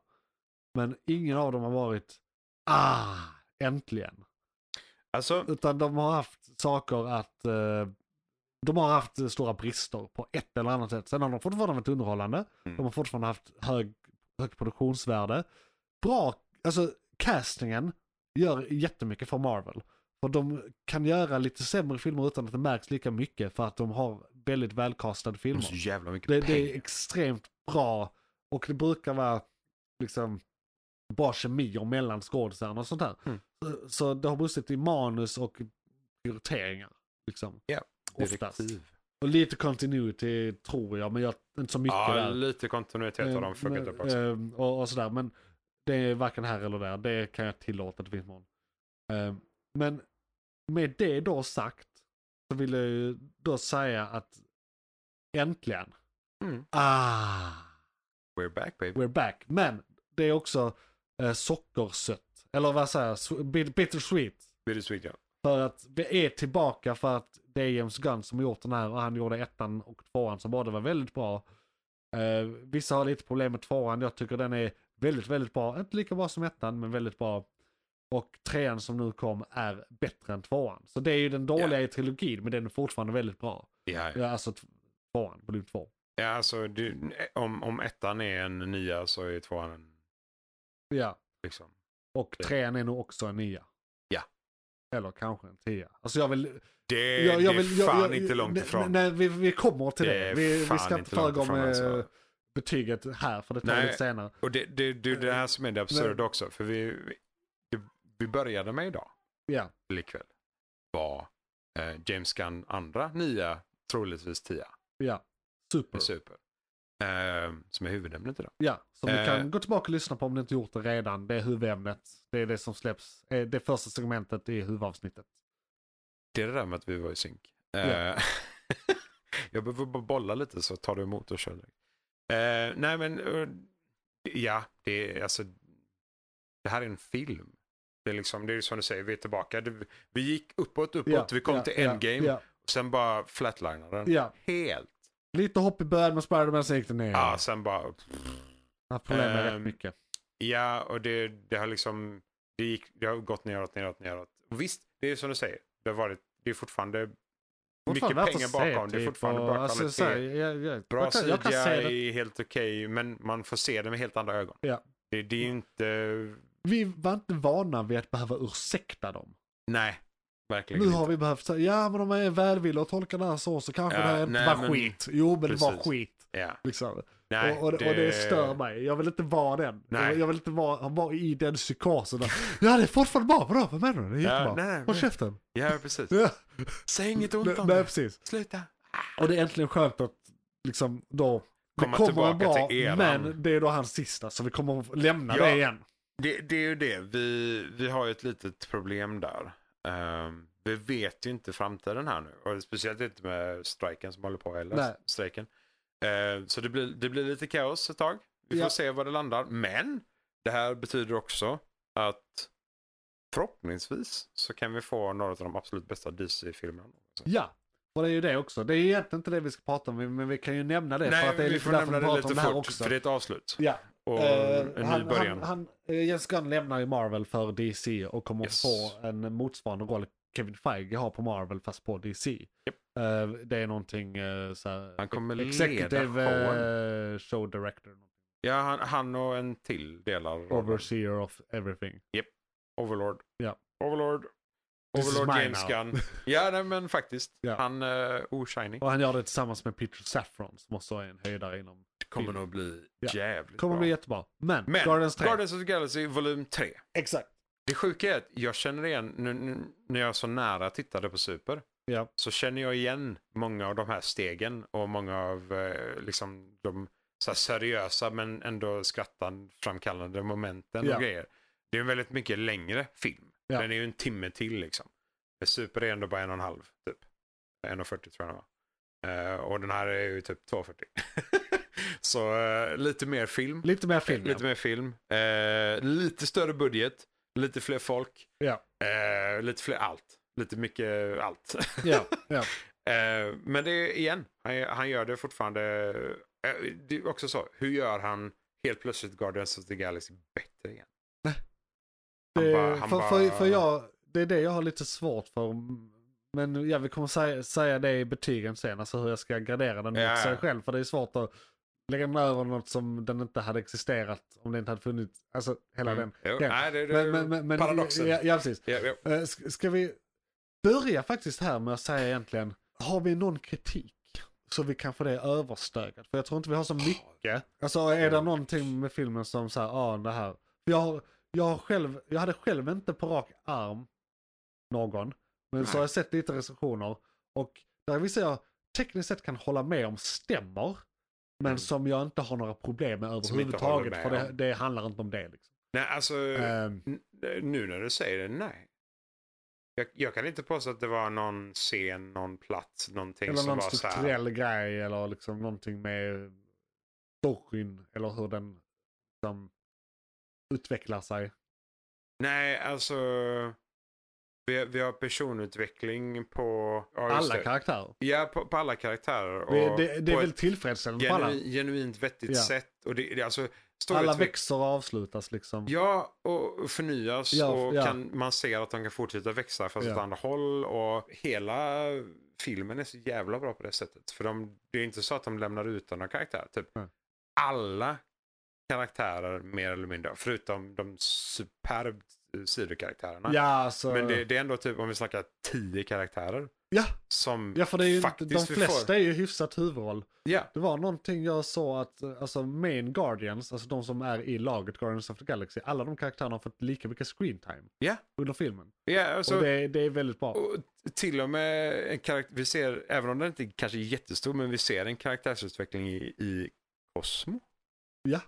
[SPEAKER 4] Men ingen av dem har varit ah, äntligen.
[SPEAKER 5] Alltså,
[SPEAKER 4] Utan de har haft saker att... eh, De har haft eh, stora brister på ett eller annat sätt. Sen har de fortfarande varit underhållande.
[SPEAKER 5] Mm.
[SPEAKER 4] De har fortfarande haft hög, hög produktionsvärde. Bra, alltså castingen gör jättemycket för Marvel. Och de kan göra lite sämre filmer utan att det märks lika mycket för att de har väldigt välkastade
[SPEAKER 5] de har
[SPEAKER 4] filmer.
[SPEAKER 5] så jävla mycket
[SPEAKER 4] Det, det är
[SPEAKER 5] pengar.
[SPEAKER 4] extremt bra och det brukar vara liksom bra kemi och mellan skådisarna och sånt där.
[SPEAKER 5] Mm.
[SPEAKER 4] Så, så det har brustit i manus och prioriteringar. Liksom.
[SPEAKER 5] Ja,
[SPEAKER 4] Oftast. Och lite continuity tror jag, men jag, inte så mycket
[SPEAKER 5] Ja,
[SPEAKER 4] där.
[SPEAKER 5] lite kontinuitet har de fuckat upp också.
[SPEAKER 4] ehm, Eh, och, och sådär, men det är varken här eller där. Det kan jag tillåta, det finns någon. Ehm, men med det då sagt så vill jag ju då säga att äntligen.
[SPEAKER 5] Mm.
[SPEAKER 4] Ah,
[SPEAKER 5] We're back baby.
[SPEAKER 4] we're back. Men det är också eh, sockersött. Eller vad säger jag? Sw- bit- Bittersweet.
[SPEAKER 5] Bittersweet ja.
[SPEAKER 4] För att vi är tillbaka för att det är James Gunn som har gjort den här och han gjorde ettan och tvåan som båda var väldigt bra. Eh, vissa har lite problem med tvåan, jag tycker den är väldigt, väldigt bra. Inte lika bra som ettan, men väldigt bra. Och trean som nu kom är bättre än tvåan. Så det är ju den dåliga i trilogin, men den är fortfarande väldigt bra.
[SPEAKER 5] Ja, ja.
[SPEAKER 4] Ja, Alltså t- tvåan, volym två.
[SPEAKER 5] ja alltså, du, om, om ettan är en nia så är tvåan en,
[SPEAKER 4] Ja,
[SPEAKER 5] liksom.
[SPEAKER 4] och trean är nog också en nia.
[SPEAKER 5] Ja.
[SPEAKER 4] Eller kanske en tia. Alltså jag vill,
[SPEAKER 5] Det,
[SPEAKER 4] jag, jag
[SPEAKER 5] Eh, det är
[SPEAKER 4] vill, jag,
[SPEAKER 5] fan
[SPEAKER 4] jag,
[SPEAKER 5] inte långt
[SPEAKER 4] nej,
[SPEAKER 5] ifrån.
[SPEAKER 4] Nej, vi, vi kommer till
[SPEAKER 5] Det
[SPEAKER 4] det.
[SPEAKER 5] är
[SPEAKER 4] Vi,
[SPEAKER 5] fan
[SPEAKER 4] vi ska inte
[SPEAKER 5] inte långt
[SPEAKER 4] föregå
[SPEAKER 5] ifrån,
[SPEAKER 4] med eh,
[SPEAKER 5] alltså.
[SPEAKER 4] betyget här, för det tar
[SPEAKER 5] Nej.
[SPEAKER 4] lite senare.
[SPEAKER 5] Och det, det, det är det här som är det absurda
[SPEAKER 4] Eh, Men-
[SPEAKER 5] också. För vi, vi, det- vi började med idag,
[SPEAKER 4] Ja,
[SPEAKER 5] eller ikväll, var eh, James Gunn andra nia, troligtvis tia,
[SPEAKER 4] ja.
[SPEAKER 5] med
[SPEAKER 4] Super.
[SPEAKER 5] Super. Eh, som är huvudämnet idag.
[SPEAKER 4] Ja, som
[SPEAKER 5] Eh.
[SPEAKER 4] du kan gå tillbaka och lyssna på om du inte gjort det redan. Det är huvudämnet. Det är det som släpps. Eh, Det första segmentet i huvudavsnittet.
[SPEAKER 5] Det är det där med att vi var i synk. Eh,
[SPEAKER 4] Ja.
[SPEAKER 5] jag behöver bara bolla lite så tar du emot och kör direkt. Eh, nej men, eh, ja, det är alltså, det här är en film. Det är liksom, det är som du säger, vi är tillbaka. Det, vi gick uppåt, uppåt,
[SPEAKER 4] Ja,
[SPEAKER 5] vi kom
[SPEAKER 4] ja,
[SPEAKER 5] till
[SPEAKER 4] ja,
[SPEAKER 5] endgame,
[SPEAKER 4] Ja,
[SPEAKER 5] sen bara flatlinade den.
[SPEAKER 4] ja.
[SPEAKER 5] Helt.
[SPEAKER 4] Lite hopp i början med Spiderman, sen gick det ner.
[SPEAKER 5] Ja, sen bara,
[SPEAKER 4] Jag har problem med
[SPEAKER 5] Ehm.
[SPEAKER 4] rätt mycket.
[SPEAKER 5] ja, och det, det har liksom, det, gick, det har gått neråt, neråt, neråt. Och visst, det är som du säger, det har varit, det är fortfarande,
[SPEAKER 4] Fortfarande
[SPEAKER 5] mycket
[SPEAKER 4] värt att
[SPEAKER 5] pengar
[SPEAKER 4] se,
[SPEAKER 5] bakom. Det är
[SPEAKER 4] typ,
[SPEAKER 5] fortfarande
[SPEAKER 4] och-
[SPEAKER 5] bra
[SPEAKER 4] alltså,
[SPEAKER 5] kvalitet.
[SPEAKER 4] så här, jag- jag-
[SPEAKER 5] Bra
[SPEAKER 4] jag kan- jag kan se det.
[SPEAKER 5] CGI är helt okej, men man får se det med helt andra ögon.
[SPEAKER 4] Ja.
[SPEAKER 5] Det, det är ju inte...
[SPEAKER 4] Vi var inte vana vid att behöva ursäkta dem.
[SPEAKER 5] Nej, verkligen
[SPEAKER 4] Nu
[SPEAKER 5] inte.
[SPEAKER 4] har vi behövt säga, ja men om man är välvillig och tolkar det här så, så kanske
[SPEAKER 5] Ja,
[SPEAKER 4] det här inte
[SPEAKER 5] nej,
[SPEAKER 4] var
[SPEAKER 5] men-
[SPEAKER 4] skit. Jo men det var
[SPEAKER 5] Precis.
[SPEAKER 4] skit.
[SPEAKER 5] Ja.
[SPEAKER 4] Liksom.
[SPEAKER 5] Nej,
[SPEAKER 4] och, och, det... och det stör mig. Jag vill inte vara den.
[SPEAKER 5] Nej.
[SPEAKER 4] Jag, jag vill inte vara, vara i den psykosen. där. ja det är fortfarande bra, vadå? Vad menar du? Det är
[SPEAKER 5] Ja,
[SPEAKER 4] jättebra.
[SPEAKER 5] nej, nej,
[SPEAKER 4] Håll
[SPEAKER 5] nej.
[SPEAKER 4] käften.
[SPEAKER 5] Ja, precis.
[SPEAKER 4] Ja.
[SPEAKER 5] Säg inget
[SPEAKER 4] Nej,
[SPEAKER 5] ont om
[SPEAKER 4] nej
[SPEAKER 5] det.
[SPEAKER 4] precis.
[SPEAKER 5] Sluta.
[SPEAKER 4] Och det är äntligen skönt att liksom då, det
[SPEAKER 5] Komma
[SPEAKER 4] kommer en
[SPEAKER 5] tillbaka
[SPEAKER 4] bra,
[SPEAKER 5] till eran.
[SPEAKER 4] men det är då hans sista så vi kommer att lämna
[SPEAKER 5] Ja.
[SPEAKER 4] det igen.
[SPEAKER 5] Det, det är ju det. Vi, vi har ju ett litet problem där. Ehm, vi vet ju inte framtiden här nu. Och speciellt inte med strejken som håller på heller.
[SPEAKER 4] Nej.
[SPEAKER 5] Strejken. Ehm, så det blir, det blir lite kaos ett tag. Vi får
[SPEAKER 4] Ja.
[SPEAKER 5] se var det landar. Men det här betyder också att förhoppningsvis så kan vi få några av de absolut bästa DC-filmerna.
[SPEAKER 4] Ja, och det är ju det också. Det är ju egentligen inte det vi ska prata om, men vi kan ju nämna det för att det är lite därför vi pratar om det här också.
[SPEAKER 5] för det är ett avslut.
[SPEAKER 4] Ja,
[SPEAKER 5] Och
[SPEAKER 4] eh,
[SPEAKER 5] en ny
[SPEAKER 4] han,
[SPEAKER 5] början.
[SPEAKER 4] han, han, eh, Jens Gunn lämnar ju Marvel för DC och kommer
[SPEAKER 5] Yes.
[SPEAKER 4] få en motsvarande roll Kevin Feige har på Marvel fast på DC. Eh, det är någonting eh, så här,
[SPEAKER 5] Han kommer leda
[SPEAKER 4] Executive
[SPEAKER 5] showen.
[SPEAKER 4] eh, Show Director.
[SPEAKER 5] ja, han, han och en till delar rollen.
[SPEAKER 4] Overseer of everything.
[SPEAKER 5] Overlord.
[SPEAKER 4] Ja.
[SPEAKER 5] Overlord.
[SPEAKER 4] This is
[SPEAKER 5] Overlord
[SPEAKER 4] mine
[SPEAKER 5] James
[SPEAKER 4] now.
[SPEAKER 5] Gunn. Ja, nej, men faktiskt.
[SPEAKER 4] Ja.
[SPEAKER 5] Han, uh, oh shiny.
[SPEAKER 4] Och han gör det tillsammans med Peter Saffron som också är en höjdare inom...
[SPEAKER 5] Kommer nog bli
[SPEAKER 4] Ja.
[SPEAKER 5] jävligt
[SPEAKER 4] Kommer
[SPEAKER 5] bra.
[SPEAKER 4] bli jättebra. Men,
[SPEAKER 5] Men
[SPEAKER 4] Guardians 3.
[SPEAKER 5] Guardians of the Galaxy volym 3.
[SPEAKER 4] Exakt.
[SPEAKER 5] Det sjuka är att jag känner igen, nu, nu, när jag så nära tittade på Super,
[SPEAKER 4] Ja.
[SPEAKER 5] så känner jag igen många av de här stegen och många av eh, liksom de så här seriösa men ändå skrattframkallande momenten
[SPEAKER 4] Ja.
[SPEAKER 5] och grejer. Det är en väldigt mycket längre film.
[SPEAKER 4] Ja.
[SPEAKER 5] Den är ju en timme till liksom. Men Super är ändå bara en och en halv typ. 1.40 tror jag den var. Eh, och den här är ju typ 2.40. så eh, lite mer film.
[SPEAKER 4] Lite mer film.
[SPEAKER 5] Lite mer film. Eh, lite större budget. Lite fler folk.
[SPEAKER 4] Ja.
[SPEAKER 5] Eh, lite fler allt. Lite mycket allt.
[SPEAKER 4] Ja, ja.
[SPEAKER 5] Eh, men det är igen, han, han gör det fortfarande. Eh, det är också så, hur gör han helt plötsligt Guardians of the Galaxy bättre igen? Han
[SPEAKER 4] Det,
[SPEAKER 5] bara- han
[SPEAKER 4] för,
[SPEAKER 5] bara- Mm.
[SPEAKER 4] för, för jag, det är det jag har lite svårt för. Men ja, vi kommer säga, säga det i betygen sen, alltså hur jag ska gradera den mot
[SPEAKER 5] Ja.
[SPEAKER 4] sig själv. För det är svårt att lägga den över något som den inte hade existerat om det inte hade funnits. Alltså hela den.
[SPEAKER 5] Mm. Jo,
[SPEAKER 4] Ja.
[SPEAKER 5] Nej, det, det,
[SPEAKER 4] Men, men, men, men,
[SPEAKER 5] paradoxen.
[SPEAKER 4] Ja, ja, precis.
[SPEAKER 5] Ja, ja.
[SPEAKER 4] Eh, Ska, ska vi börja faktiskt här med att säga egentligen, har vi någon kritik så vi kan få det överstökat? För jag tror inte vi har så mycket. Alltså är det någonting med filmen som så här, ja ah, det här. Jag, har- jag, har själv, jag hade själv inte på rak arm någon, men så
[SPEAKER 5] Nej.
[SPEAKER 4] har jag sett lite recensioner. Och där vissa jag tekniskt sett kan hålla med om stämmer, men
[SPEAKER 5] Mm.
[SPEAKER 4] som jag inte har några problem med
[SPEAKER 5] Som inte håller
[SPEAKER 4] överhuvudtaget.
[SPEAKER 5] med
[SPEAKER 4] För det,
[SPEAKER 5] om.
[SPEAKER 4] det handlar inte om det. Liksom.
[SPEAKER 5] Nej, alltså
[SPEAKER 4] Ehm,
[SPEAKER 5] n- nu när du säger det, nej. Jag, jag kan inte påstå att det var någon scen, någon plats, någonting
[SPEAKER 4] Eller
[SPEAKER 5] som
[SPEAKER 4] någon
[SPEAKER 5] var så här.
[SPEAKER 4] strukturell grej eller liksom någonting med storyn eller hur den liksom, utvecklar sig.
[SPEAKER 5] Nej, alltså. Vi, vi har personutveckling på... Ja, just
[SPEAKER 4] Alla
[SPEAKER 5] det.
[SPEAKER 4] karaktärer.
[SPEAKER 5] Ja, på, på alla karaktärer. Och
[SPEAKER 4] Det, det, det är
[SPEAKER 5] på
[SPEAKER 4] väl
[SPEAKER 5] ett
[SPEAKER 4] tillfredsställande på alla.
[SPEAKER 5] genu, genuint vettigt
[SPEAKER 4] Ja.
[SPEAKER 5] sätt. Och det, det, alltså,
[SPEAKER 4] Alla
[SPEAKER 5] storyutveck-
[SPEAKER 4] växer och avslutas liksom.
[SPEAKER 5] Ja, och förnyas
[SPEAKER 4] Ja,
[SPEAKER 5] och
[SPEAKER 4] ja.
[SPEAKER 5] Kan, man ser att de kan fortsätta växa fast
[SPEAKER 4] Ja.
[SPEAKER 5] åt andra håll. Och hela filmen är så jävla bra på det sättet. För de, det är inte så att de lämnar ut några karaktärer. Typ.
[SPEAKER 4] Nej.
[SPEAKER 5] Alla karaktärer mer eller mindre, förutom de superbt eh, sidokaraktärerna.
[SPEAKER 4] Ja, alltså,
[SPEAKER 5] Men det, det är ändå typ, om vi snackar tio karaktärer.
[SPEAKER 4] ja,
[SPEAKER 5] Som
[SPEAKER 4] ja, för det är ju inte, de
[SPEAKER 5] faktiskt vi får-
[SPEAKER 4] flesta är ju hyfsat huvudroll.
[SPEAKER 5] Ja,
[SPEAKER 4] Det var någonting jag såg att, eh, alltså main guardians, alltså de som är i laget Guardians of the Galaxy, alla de karaktärerna har fått lika mycket screen time
[SPEAKER 5] Ja.
[SPEAKER 4] under filmen.
[SPEAKER 5] ja alltså,
[SPEAKER 4] och det, det är väldigt bra.
[SPEAKER 5] Och till och med en karaktär, vi ser, även om den inte kanske är jättestor, men vi ser en karaktärsutveckling i, i Cosmo.
[SPEAKER 4] Ja.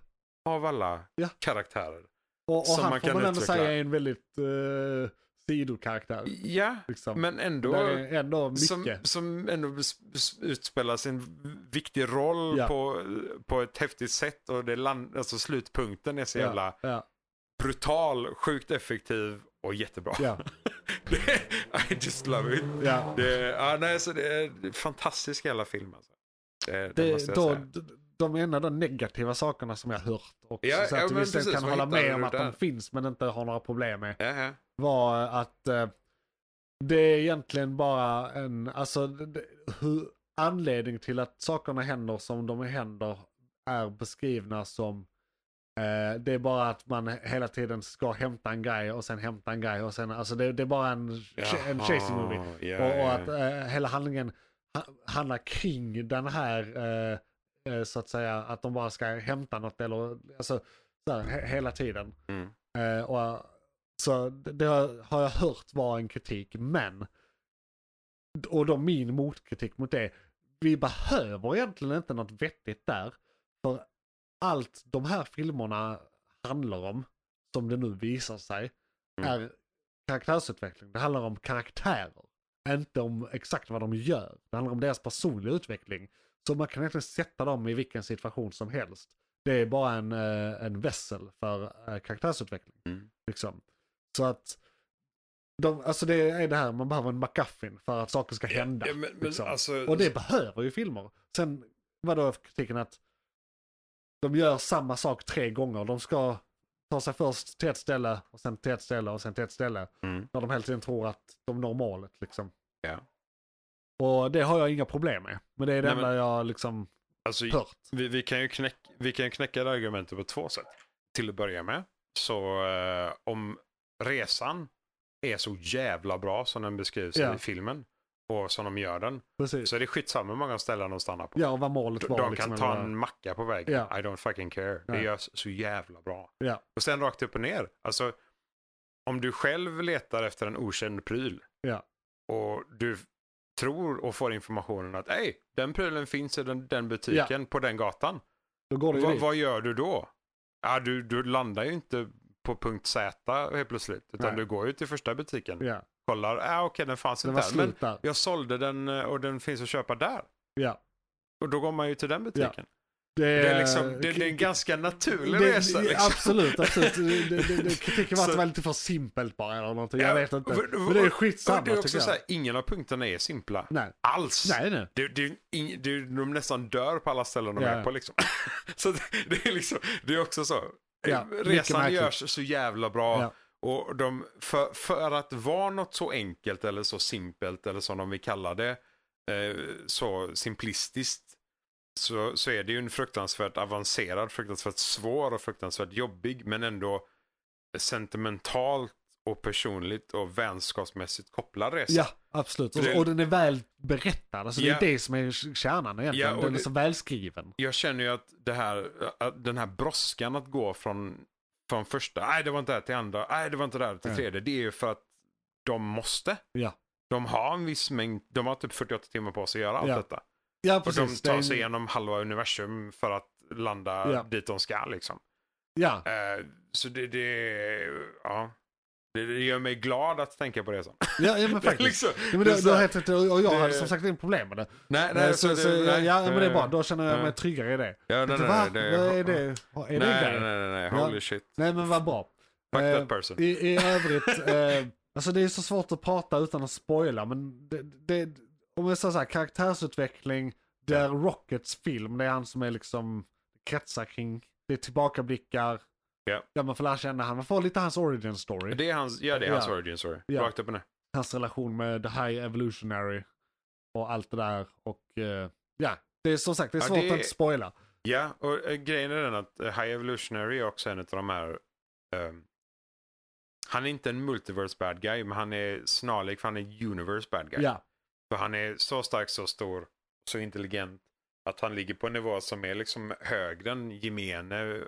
[SPEAKER 5] Av alla
[SPEAKER 4] Ja.
[SPEAKER 5] karaktärer.
[SPEAKER 4] Och, och
[SPEAKER 5] som
[SPEAKER 4] han
[SPEAKER 5] man
[SPEAKER 4] får
[SPEAKER 5] kan
[SPEAKER 4] man ändå
[SPEAKER 5] utveckla.
[SPEAKER 4] säga är en väldigt eh, sidokaraktär.
[SPEAKER 5] Ja,
[SPEAKER 4] Liksom.
[SPEAKER 5] men ändå.
[SPEAKER 4] Där är ändå mycket.
[SPEAKER 5] Som, som ändå bes- bes- utspelar sin viktig roll
[SPEAKER 4] Ja.
[SPEAKER 5] på, på ett häftigt sätt. Och det land, alltså slutpunkten är så jävla
[SPEAKER 4] ja, ja,
[SPEAKER 5] brutal, sjukt effektiv och jättebra.
[SPEAKER 4] ja,
[SPEAKER 5] I just love it.
[SPEAKER 4] ja.
[SPEAKER 5] Det, ja, nej, så det är en fantastisk jävla film. Alltså. Det, det, måste
[SPEAKER 4] Det,
[SPEAKER 5] jag
[SPEAKER 4] då,
[SPEAKER 5] säga.
[SPEAKER 4] d- de enda de negativa sakerna som jag hört och
[SPEAKER 5] Ja,
[SPEAKER 4] så att
[SPEAKER 5] ja,
[SPEAKER 4] vi
[SPEAKER 5] men
[SPEAKER 4] visst
[SPEAKER 5] precis,
[SPEAKER 4] kan
[SPEAKER 5] vad
[SPEAKER 4] hålla
[SPEAKER 5] hittar
[SPEAKER 4] med
[SPEAKER 5] du
[SPEAKER 4] om att
[SPEAKER 5] där?
[SPEAKER 4] de finns men inte har några problem med
[SPEAKER 5] Ja, ja.
[SPEAKER 4] var att eh, det är egentligen bara en, alltså det- det- hur anledning till att sakerna händer som de händer är beskrivna som eh, det är bara att man hela tiden ska hämta en grej och sen hämta en grej och sen, alltså det, det är bara en, en chasing movie.
[SPEAKER 5] Ja,
[SPEAKER 4] Och, och
[SPEAKER 5] ja.
[SPEAKER 4] att eh, hela handlingen ha, handlar kring den här, eh, eh, så att säga, att de bara ska hämta något eller alltså, så här, he, hela tiden.
[SPEAKER 5] Mm.
[SPEAKER 4] Eh, och, så det, det har- har jag hört var en kritik, men, och då min motkritik mot det, vi behöver egentligen inte något vettigt där. För allt de här filmerna handlar om, som det nu visar sig,
[SPEAKER 5] Mm.
[SPEAKER 4] är karaktärsutveckling. Det handlar om karaktärer, inte om exakt vad de gör. Det handlar om deras personliga utveckling. Så man kan egentligen sätta dem i vilken situation som helst. Det är bara en, eh, en vässel för eh, karaktärsutveckling.
[SPEAKER 5] Mm.
[SPEAKER 4] Liksom. Så att, de, alltså det är det här, man behöver en MacGuffin för att saker ska hända.
[SPEAKER 5] Ja, men, men,
[SPEAKER 4] liksom.
[SPEAKER 5] alltså,
[SPEAKER 4] Och det behöver ju filmer. Sen var då kritiken att de gör samma sak tre gånger. De ska ta sig först till ett ställe och sen till ett ställe och sen till ett ställe.
[SPEAKER 5] Mm.
[SPEAKER 4] När de hela tiden tror att de når målet liksom.
[SPEAKER 5] Ja.
[SPEAKER 4] Och det har jag inga problem med. Men det är det
[SPEAKER 5] Nej,
[SPEAKER 4] enda
[SPEAKER 5] men-
[SPEAKER 4] jag liksom
[SPEAKER 5] alltså,
[SPEAKER 4] hört.
[SPEAKER 5] vi, vi, kan ju knäck, vi kan ju knäcka det argumentet på två sätt. Till att börja med, så eh, om resan är så jävla bra som den beskrivs
[SPEAKER 4] Ja.
[SPEAKER 5] i filmen och som de gör den,
[SPEAKER 4] Precis.
[SPEAKER 5] så är det skitsamma hur många ställen de stannar på.
[SPEAKER 4] Ja, och vad målet
[SPEAKER 5] De,
[SPEAKER 4] var.
[SPEAKER 5] de
[SPEAKER 4] liksom,
[SPEAKER 5] kan
[SPEAKER 4] eller
[SPEAKER 5] ta
[SPEAKER 4] vad-
[SPEAKER 5] en macka på vägen.
[SPEAKER 4] Ja.
[SPEAKER 5] I don't fucking care. Det
[SPEAKER 4] Ja.
[SPEAKER 5] görs så jävla bra.
[SPEAKER 4] Ja.
[SPEAKER 5] Och sen rakt upp och ner. Alltså, om du själv letar efter en okänd pryl
[SPEAKER 4] Ja.
[SPEAKER 5] och du tror och får informationen att Ej, den prylen finns i den, den butiken på den gatan.
[SPEAKER 4] Då går det ju
[SPEAKER 5] Va,
[SPEAKER 4] dit.
[SPEAKER 5] vad gör du då? Ja, du, du landar ju inte på punkt Z helt plötsligt. Utan
[SPEAKER 4] Nej.
[SPEAKER 5] du går ju till första butiken.
[SPEAKER 4] Ja,
[SPEAKER 5] Kollar, ja okej den fanns
[SPEAKER 4] det var
[SPEAKER 5] inte där. Men
[SPEAKER 4] slut där.
[SPEAKER 5] jag sålde den eh, och den finns att köpa där.
[SPEAKER 4] Ja.
[SPEAKER 5] Och då går man ju till den butiken.
[SPEAKER 4] Det
[SPEAKER 5] Det är, liksom, det, det är en ganska naturlig resa.
[SPEAKER 4] Eh, det-
[SPEAKER 5] Liksom.
[SPEAKER 4] Absolut, absolut. Det- det- det- Kritiken var att
[SPEAKER 5] Så-
[SPEAKER 4] det var lite för simpelt bara eller någonting.
[SPEAKER 5] Ja,
[SPEAKER 4] Jag vet inte.
[SPEAKER 5] och- och-
[SPEAKER 4] Men det är
[SPEAKER 5] Och
[SPEAKER 4] skitsamma
[SPEAKER 5] det är också
[SPEAKER 4] tycker jag.
[SPEAKER 5] så här, ingen av punkterna är simpla.
[SPEAKER 4] Nej,
[SPEAKER 5] Alls.
[SPEAKER 4] nej, nej.
[SPEAKER 5] Det, det, ing, det, de nästan dör på alla ställen de
[SPEAKER 4] Ja.
[SPEAKER 5] är på liksom. så det, det är liksom, det är också så.
[SPEAKER 4] Ja, mycket
[SPEAKER 5] Resan
[SPEAKER 4] märkligt.
[SPEAKER 5] görs så jävla bra.
[SPEAKER 4] Ja.
[SPEAKER 5] Och de, för, för att vara något så enkelt eller så simpelt eller som de vill kalla det, eh, så simplistiskt, så, så är det ju en fruktansvärt avancerad, fruktansvärt svår och fruktansvärt jobbig, men ändå sentimentalt och personligt och vänskapsmässigt kopplad resa.
[SPEAKER 4] Ja, absolut. Och,
[SPEAKER 5] Det-
[SPEAKER 4] och den är väl berättad. Alltså
[SPEAKER 5] Ja.
[SPEAKER 4] det är det som är kärnan egentligen.
[SPEAKER 5] Ja, och
[SPEAKER 4] den är
[SPEAKER 5] det-
[SPEAKER 4] så välskriven.
[SPEAKER 5] Jag känner ju att, det här, att den här brådskan att gå från, från första, nej det var inte det här till andra, nej det var inte det här till
[SPEAKER 4] Ja.
[SPEAKER 5] tredje, det är ju för att de måste.
[SPEAKER 4] Ja.
[SPEAKER 5] De har en viss mängd, de har typ 48 timmar på sig att göra allt
[SPEAKER 4] Ja,
[SPEAKER 5] detta.
[SPEAKER 4] Ja,
[SPEAKER 5] Och de
[SPEAKER 4] precis. Det är
[SPEAKER 5] tar
[SPEAKER 4] en-
[SPEAKER 5] sig igenom halva universum för att landa
[SPEAKER 4] Ja.
[SPEAKER 5] dit de ska liksom.
[SPEAKER 4] Ja,
[SPEAKER 5] Eh, så det, det, ja. Det, det gör mig glad att tänka på det så.
[SPEAKER 4] ja, ja men
[SPEAKER 5] Det är
[SPEAKER 4] faktiskt.
[SPEAKER 5] liksom,
[SPEAKER 4] Ja, men
[SPEAKER 5] det är
[SPEAKER 4] du,
[SPEAKER 5] så
[SPEAKER 4] du har
[SPEAKER 5] här-
[SPEAKER 4] helt rätt, och jag hade
[SPEAKER 5] det-
[SPEAKER 4] som sagt inget problem med det.
[SPEAKER 5] Nej,
[SPEAKER 4] Nej,
[SPEAKER 5] nej, alltså
[SPEAKER 4] så,
[SPEAKER 5] det-
[SPEAKER 4] så,
[SPEAKER 5] nej.
[SPEAKER 4] ja, men det är bra.
[SPEAKER 5] Eh,
[SPEAKER 4] Då känner jag
[SPEAKER 5] eh.
[SPEAKER 4] mig tryggare i det.
[SPEAKER 5] Ja, nej, nej,
[SPEAKER 4] Va?
[SPEAKER 5] nej, det-
[SPEAKER 4] vad är det? Vad Är det en
[SPEAKER 5] Nej, nej,
[SPEAKER 4] grej?
[SPEAKER 5] nej, nej,
[SPEAKER 4] Ja.
[SPEAKER 5] holy shit.
[SPEAKER 4] Nej, men vad bra.
[SPEAKER 5] Fuck
[SPEAKER 4] Eh,
[SPEAKER 5] that person.
[SPEAKER 4] I, i övrigt, eh, alltså det är så svårt att prata utan att spoila, men det, det, om jag säger så här, karaktärsutveckling, det är Rockets film, det är han som är liksom kretsar kring, det är tillbakablickar,
[SPEAKER 5] Ja.
[SPEAKER 4] där man får lära känna han, man får lite hans origin story,
[SPEAKER 5] Det är hans, ja, det är hans
[SPEAKER 4] Ja.
[SPEAKER 5] origin story.
[SPEAKER 4] Ja.
[SPEAKER 5] Rakt upp och ner.
[SPEAKER 4] hans relation med The High Evolutionary och allt det där och eh, ja, det är som sagt, det är
[SPEAKER 5] Ja,
[SPEAKER 4] svårt
[SPEAKER 5] det-
[SPEAKER 4] att inte spoila.
[SPEAKER 5] Ja, och eh, grejen är den att eh, High Evolutionary är också en av de här... ehm, han är inte en multiverse bad guy, men han är snarlik för han är universe bad guy.
[SPEAKER 4] Ja,
[SPEAKER 5] För han är så stark, så stor, så intelligent att han ligger på en nivå som är liksom högre än gemene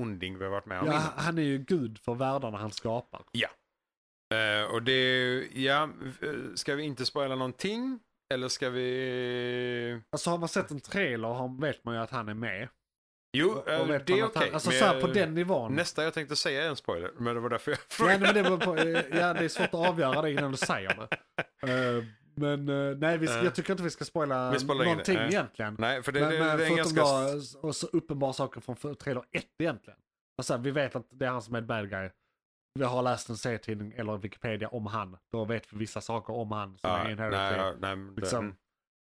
[SPEAKER 5] onding vi har varit med om
[SPEAKER 4] ja,
[SPEAKER 5] innan.
[SPEAKER 4] han är ju gud för världarna han skapar.
[SPEAKER 5] Eh, och det är ju- ja, eh, ska vi inte spoila någonting? Eller ska vi...
[SPEAKER 4] Alltså har man sett en trailer har- vet man ju att han är med.
[SPEAKER 5] Jo,
[SPEAKER 4] Och
[SPEAKER 5] eh,
[SPEAKER 4] vet
[SPEAKER 5] det är
[SPEAKER 4] man
[SPEAKER 5] okej.
[SPEAKER 4] att han- Alltså
[SPEAKER 5] men
[SPEAKER 4] så här
[SPEAKER 5] jag-
[SPEAKER 4] på den nivån.
[SPEAKER 5] Nästa jag tänkte säga är en spoiler, men det var därför jag
[SPEAKER 4] Ja,
[SPEAKER 5] frågade.
[SPEAKER 4] nej, men det, beror på, eh, ja, det är svårt att avgöra det innan du säger det. Eh, Men eh, nej, vi, ska-
[SPEAKER 5] Eh.
[SPEAKER 4] jag tycker inte vi ska spoila
[SPEAKER 5] Vi spoilar inget,
[SPEAKER 4] någonting
[SPEAKER 5] eh.
[SPEAKER 4] egentligen.
[SPEAKER 5] Nej, för det,
[SPEAKER 4] men
[SPEAKER 5] det,
[SPEAKER 4] men
[SPEAKER 5] det är en
[SPEAKER 4] förutom
[SPEAKER 5] ganska...
[SPEAKER 4] då, s- och så uppenbara saker från för- trailer 1 egentligen. Alltså, vi vet att det är han som är the bad guy. Vi har läst en serietidning eller Wikipedia om han. Då vet vi vissa saker om han som
[SPEAKER 5] Ja,
[SPEAKER 4] är
[SPEAKER 5] nej,
[SPEAKER 4] inherited.
[SPEAKER 5] ja, nej, men det-
[SPEAKER 4] liksom,
[SPEAKER 5] mm.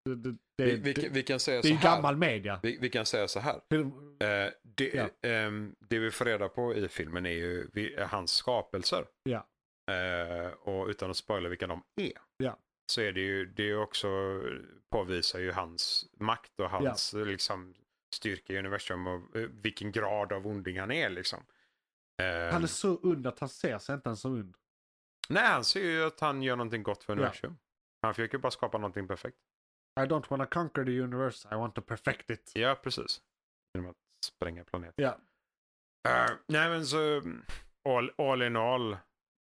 [SPEAKER 4] Det, det,
[SPEAKER 5] vi,
[SPEAKER 4] det,
[SPEAKER 5] vi,
[SPEAKER 4] det,
[SPEAKER 5] vi kan säga
[SPEAKER 4] det är
[SPEAKER 5] så
[SPEAKER 4] ju
[SPEAKER 5] här.
[SPEAKER 4] gammal media.
[SPEAKER 5] Vi, vi kan säga så här.
[SPEAKER 4] Film-
[SPEAKER 5] Eh, det,
[SPEAKER 4] Ja.
[SPEAKER 5] ehm, det vi får reda på i filmen är ju vi, är hans skapelser.
[SPEAKER 4] Ja.
[SPEAKER 5] Eh, och utan att spoila vilka de är.
[SPEAKER 4] Ja.
[SPEAKER 5] Så är det ju, det är ju också, påvisar ju hans makt och hans eh, liksom, styrka i universum och eh, vilken grad av onding han är liksom. Eh,
[SPEAKER 4] Han är så ond att han ser sig inte ens som ond.
[SPEAKER 5] Nej, han ser ju att han gör någonting gott för
[SPEAKER 4] Ja.
[SPEAKER 5] universum. Han försöker bara skapa någonting perfekt.
[SPEAKER 4] I don't wanna conquer the universe, I want to perfect it.
[SPEAKER 5] Ja, precis. Genom att spränga planeten.
[SPEAKER 4] Ja.
[SPEAKER 5] Eh, nej, men så mm, all, all in all,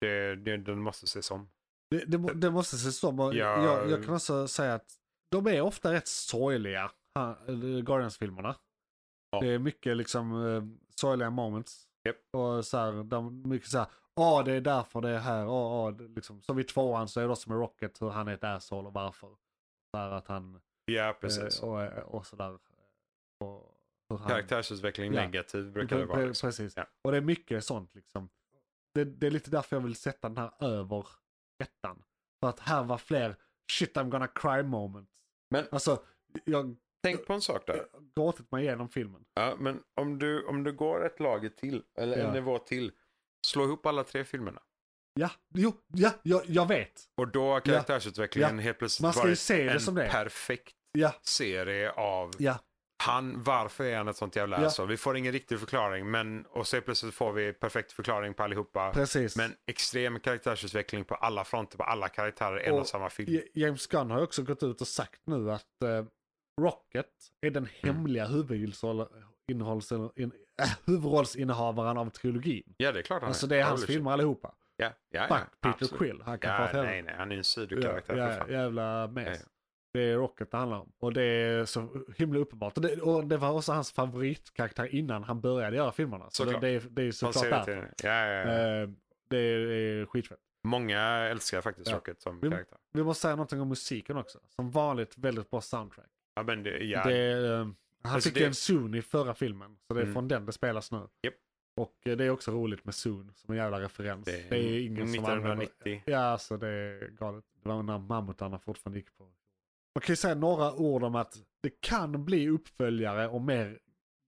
[SPEAKER 5] det, det, den måste ses om.
[SPEAKER 4] Det, det, må- det måste ses som. Och
[SPEAKER 5] Ja.
[SPEAKER 4] jag, jag kan också säga att de är ofta rätt sorgliga, ha- eh, Guardians-filmerna.
[SPEAKER 5] Ja.
[SPEAKER 4] Det är mycket liksom eh, sorgliga moments.
[SPEAKER 5] Japp.
[SPEAKER 4] Och så här, de, mycket så här, ja det är därför det är här, ja, ja, det- liksom. Som i tvåan så är det också med Rocket hur han är ett asshole och varför. Så här att han,
[SPEAKER 5] Ja,
[SPEAKER 4] eh, och, och sådär. Och hur han-
[SPEAKER 5] Karaktärsutveckling
[SPEAKER 4] Ja.
[SPEAKER 5] negativ brukar det
[SPEAKER 4] Pre-
[SPEAKER 5] vara.
[SPEAKER 4] pre-
[SPEAKER 5] Liksom.
[SPEAKER 4] Precis.
[SPEAKER 5] Ja.
[SPEAKER 4] Och det är mycket sånt liksom. Det, det är lite därför jag vill sätta den här över ettan. För att här var fler shit I'm gonna cry moments.
[SPEAKER 5] Men-
[SPEAKER 4] Alltså, jag
[SPEAKER 5] Tänk på en sak där.
[SPEAKER 4] har gråtit mig igenom filmen.
[SPEAKER 5] Ja, men om du, om du går ett lager till, eller
[SPEAKER 4] Ja.
[SPEAKER 5] en nivå till, slå ihop alla tre filmerna.
[SPEAKER 4] Ja, jo, ja, jag, jag vet.
[SPEAKER 5] Och då har karaktärsutvecklingen helt plötsligt
[SPEAKER 4] Man ska ju
[SPEAKER 5] varit
[SPEAKER 4] se det
[SPEAKER 5] en
[SPEAKER 4] som det är.
[SPEAKER 5] perfekt
[SPEAKER 4] Ja,
[SPEAKER 5] serie av
[SPEAKER 4] ja,
[SPEAKER 5] han, varför är han ett sånt jävla
[SPEAKER 4] Ja.
[SPEAKER 5] asshole? Vi får ingen riktig förklaring, men och så plötsligt får vi perfekt förklaring på allihopa.
[SPEAKER 4] precis.
[SPEAKER 5] Men extrem karaktärsutveckling på alla fronter, på alla karaktärer, en
[SPEAKER 4] Och-
[SPEAKER 5] och samma film.
[SPEAKER 4] J- James Gunn har ju också gått ut och sagt nu att eh, Rocket är
[SPEAKER 5] Mm.
[SPEAKER 4] den hemliga huvudinnehåll- innehållsen- in- äh, huvudrollsinnehavaren av trilogin.
[SPEAKER 5] Ja, det är klart han
[SPEAKER 4] Alltså det är hans
[SPEAKER 5] Holy shit.
[SPEAKER 4] filmer allihopa.
[SPEAKER 5] Ja, ja, ja,
[SPEAKER 4] Fuck Peter
[SPEAKER 5] absolut.
[SPEAKER 4] Quill, han kan
[SPEAKER 5] Ja,
[SPEAKER 4] få
[SPEAKER 5] nej, nej, han är en sidokaraktär för
[SPEAKER 4] ja,
[SPEAKER 5] fan.
[SPEAKER 4] Jävla mes.
[SPEAKER 5] Ja, ja.
[SPEAKER 4] Det är Rocket det handlar om. Och det är så himla uppenbart. Och det, och det var också hans favoritkaraktär innan han började göra filmerna. Så det,
[SPEAKER 5] Såklart.
[SPEAKER 4] det, är, det är
[SPEAKER 5] Från
[SPEAKER 4] såklart
[SPEAKER 5] serietidningen.
[SPEAKER 4] därför.
[SPEAKER 5] ja, ja, ja.
[SPEAKER 4] Eh, Det är, det är skitfett.
[SPEAKER 5] Många älskar faktiskt
[SPEAKER 4] ja.
[SPEAKER 5] Rocket som
[SPEAKER 4] Vi-
[SPEAKER 5] karaktär.
[SPEAKER 4] Vi måste säga någonting om musiken också. Som vanligt väldigt bra soundtrack.
[SPEAKER 5] Ja, men det, ja,
[SPEAKER 4] Det, är, eh, han
[SPEAKER 5] Alltså,
[SPEAKER 4] fick
[SPEAKER 5] det-
[SPEAKER 4] ju en Zoon i förra filmen. Så det är
[SPEAKER 5] Mm.
[SPEAKER 4] från den det spelas nu.
[SPEAKER 5] Japp.
[SPEAKER 4] Och eh, det är också roligt med Zoon som en jävla referens. Det är, ingen som använder
[SPEAKER 5] 1990.
[SPEAKER 4] Ja, alltså det är galet. Det var när mammutarna fortfarande gick på. Man kan ju säga några ord om att det kan bli uppföljare och mer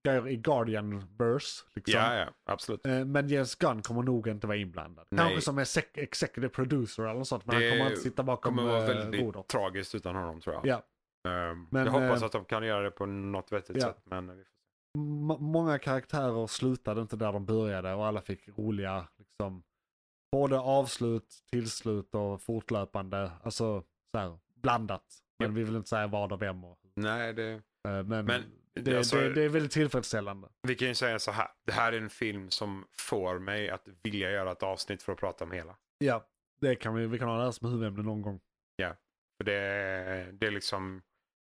[SPEAKER 4] grejer i Guardian-verse. Liksom.
[SPEAKER 5] Ja, ja, absolut.
[SPEAKER 4] Eh, Men James Gunn kommer nog inte vara inblandad.
[SPEAKER 5] Nej.
[SPEAKER 4] Kanske som exec- executive producer eller något sånt, men
[SPEAKER 5] Det
[SPEAKER 4] han kommer inte sitta
[SPEAKER 5] Det
[SPEAKER 4] bakom
[SPEAKER 5] kommer vara
[SPEAKER 4] eh,
[SPEAKER 5] väldigt
[SPEAKER 4] rodret.
[SPEAKER 5] tragiskt utan honom tror jag.
[SPEAKER 4] Ja.
[SPEAKER 5] Ehm,
[SPEAKER 4] Men,
[SPEAKER 5] jag hoppas
[SPEAKER 4] eh,
[SPEAKER 5] att de kan göra det på något vettigt
[SPEAKER 4] ja.
[SPEAKER 5] sätt. Men vi får se.
[SPEAKER 4] M- många karaktärer slutade inte där de började och alla fick roliga, liksom, både avslut, tillslut och fortlöpande, alltså så här, blandat. Men
[SPEAKER 5] Ja.
[SPEAKER 4] vi vill inte säga vad och vem. Och,
[SPEAKER 5] Nej, det,
[SPEAKER 4] eh, men
[SPEAKER 5] Men,
[SPEAKER 4] det,
[SPEAKER 5] alltså-
[SPEAKER 4] det, det är väldigt tillfredsställande.
[SPEAKER 5] vi kan ju säga så här. Det här är en film som får mig att vilja göra ett avsnitt för att prata om hela.
[SPEAKER 4] Ja, det kan vi, vi kan ha det här som huvudämne någon gång.
[SPEAKER 5] För det, det är liksom,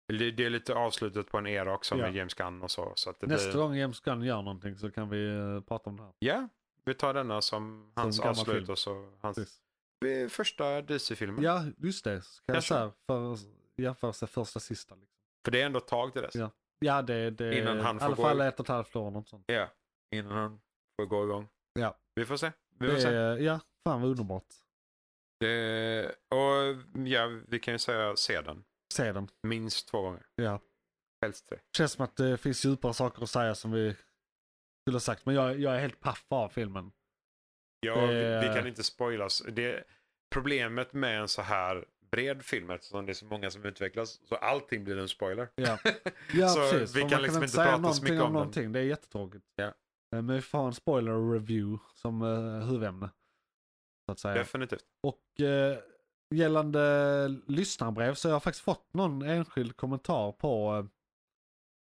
[SPEAKER 5] det, det är lite avslutet på en era också
[SPEAKER 4] Ja.
[SPEAKER 5] med James Gunn och så. så att det
[SPEAKER 4] Nästa
[SPEAKER 5] blir,
[SPEAKER 4] gång James Gunn gör någonting så kan vi eh, prata om det här.
[SPEAKER 5] Ja, vi tar denna som hans
[SPEAKER 4] gammal
[SPEAKER 5] avslut
[SPEAKER 4] film.
[SPEAKER 5] och så hans
[SPEAKER 4] Precis.
[SPEAKER 5] eh, första DC-filmen.
[SPEAKER 4] Ja, just det. Så Kan jag
[SPEAKER 5] Mm. Kanske.
[SPEAKER 4] så här, för, jämförelse första sista. Liksom.
[SPEAKER 5] För det är ändå ett tag till dess.
[SPEAKER 4] Ja. Ja, det, det
[SPEAKER 5] Innan han
[SPEAKER 4] i
[SPEAKER 5] får
[SPEAKER 4] alla
[SPEAKER 5] gå
[SPEAKER 4] fall
[SPEAKER 5] ut.
[SPEAKER 4] ett och ett halvt år. Något sånt.
[SPEAKER 5] Ja, Innan han får gå igång.
[SPEAKER 4] Ja.
[SPEAKER 5] Vi får se. Vi får
[SPEAKER 4] Det,
[SPEAKER 5] se.
[SPEAKER 4] är- ja, fan vad underbart.
[SPEAKER 5] Det, och ja, vi kan ju säga se den.
[SPEAKER 4] Se den.
[SPEAKER 5] Minst två gånger.
[SPEAKER 4] Ja.
[SPEAKER 5] Helst tre.
[SPEAKER 4] Känns som att det finns djupare saker att säga som vi skulle ha sagt. Men jag, jag är helt paff av filmen.
[SPEAKER 5] Ja,
[SPEAKER 4] Det-
[SPEAKER 5] vi, vi kan inte spoilas. Det, problemet med en så här bred film, eftersom det är så många som utvecklas, så allting blir en spoiler.
[SPEAKER 4] Ja, ja
[SPEAKER 5] Så
[SPEAKER 4] precis. för
[SPEAKER 5] vi kan
[SPEAKER 4] man
[SPEAKER 5] liksom inte
[SPEAKER 4] säga
[SPEAKER 5] prata så
[SPEAKER 4] någonting
[SPEAKER 5] mycket om den.
[SPEAKER 4] någonting. Det är jättetråkigt.
[SPEAKER 5] Ja.
[SPEAKER 4] Eh, Men vi får ha en spoiler review som uh, huvudämne. Så att säga.
[SPEAKER 5] Definitivt.
[SPEAKER 4] Och eh, gällande lyssnarbrev så har jag faktiskt fått någon enskild kommentar på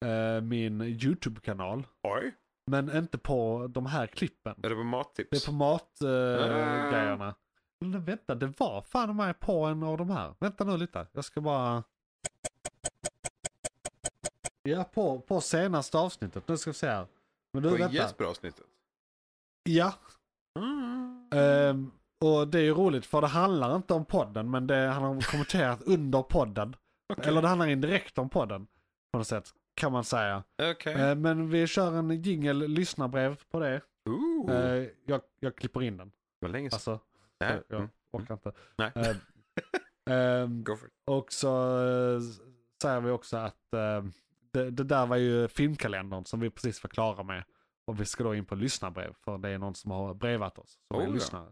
[SPEAKER 4] eh, eh, min YouTube-kanal.
[SPEAKER 5] Oj,
[SPEAKER 4] Men inte på de här klippen.
[SPEAKER 5] är det på mattips?
[SPEAKER 4] Det är på matgrejerna.
[SPEAKER 5] Ah.
[SPEAKER 4] Eh, grejerna. Men vänta, det var fan mig på en av de här. Vänta nu lite, jag ska bara... Ja, på, på senaste avsnittet. Nu ska vi se här. Men du,
[SPEAKER 5] På
[SPEAKER 4] vänta.
[SPEAKER 5] Jesper avsnittet.
[SPEAKER 4] Ja, Ehm, och det är ju roligt för det handlar inte om podden men det, han har kommenterat under podden. Eller det handlar indirekt om podden. På något sätt kan man säga.
[SPEAKER 5] Okej.
[SPEAKER 4] Ehm, men vi kör en jingel lyssnarbrev på det.
[SPEAKER 5] Ooh,
[SPEAKER 4] Ehm, jag, jag klipper in den.
[SPEAKER 5] vad länge sedan.
[SPEAKER 4] Alltså,
[SPEAKER 5] Nej,
[SPEAKER 4] jag
[SPEAKER 5] mm,
[SPEAKER 4] orkar inte.
[SPEAKER 5] Nej.
[SPEAKER 4] Ehm, ehm,
[SPEAKER 5] Go for it.
[SPEAKER 4] och så eh, säger vi också att eh, det, det där var ju filmkalendern som vi precis var klara med. Och vi ska då in på lyssnarbrev för det är någon som har brevat oss. Som
[SPEAKER 5] Oh
[SPEAKER 4] är
[SPEAKER 5] ja.
[SPEAKER 4] lyssnare.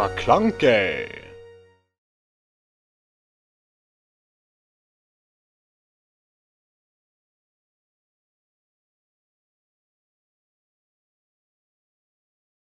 [SPEAKER 3] McClunkey!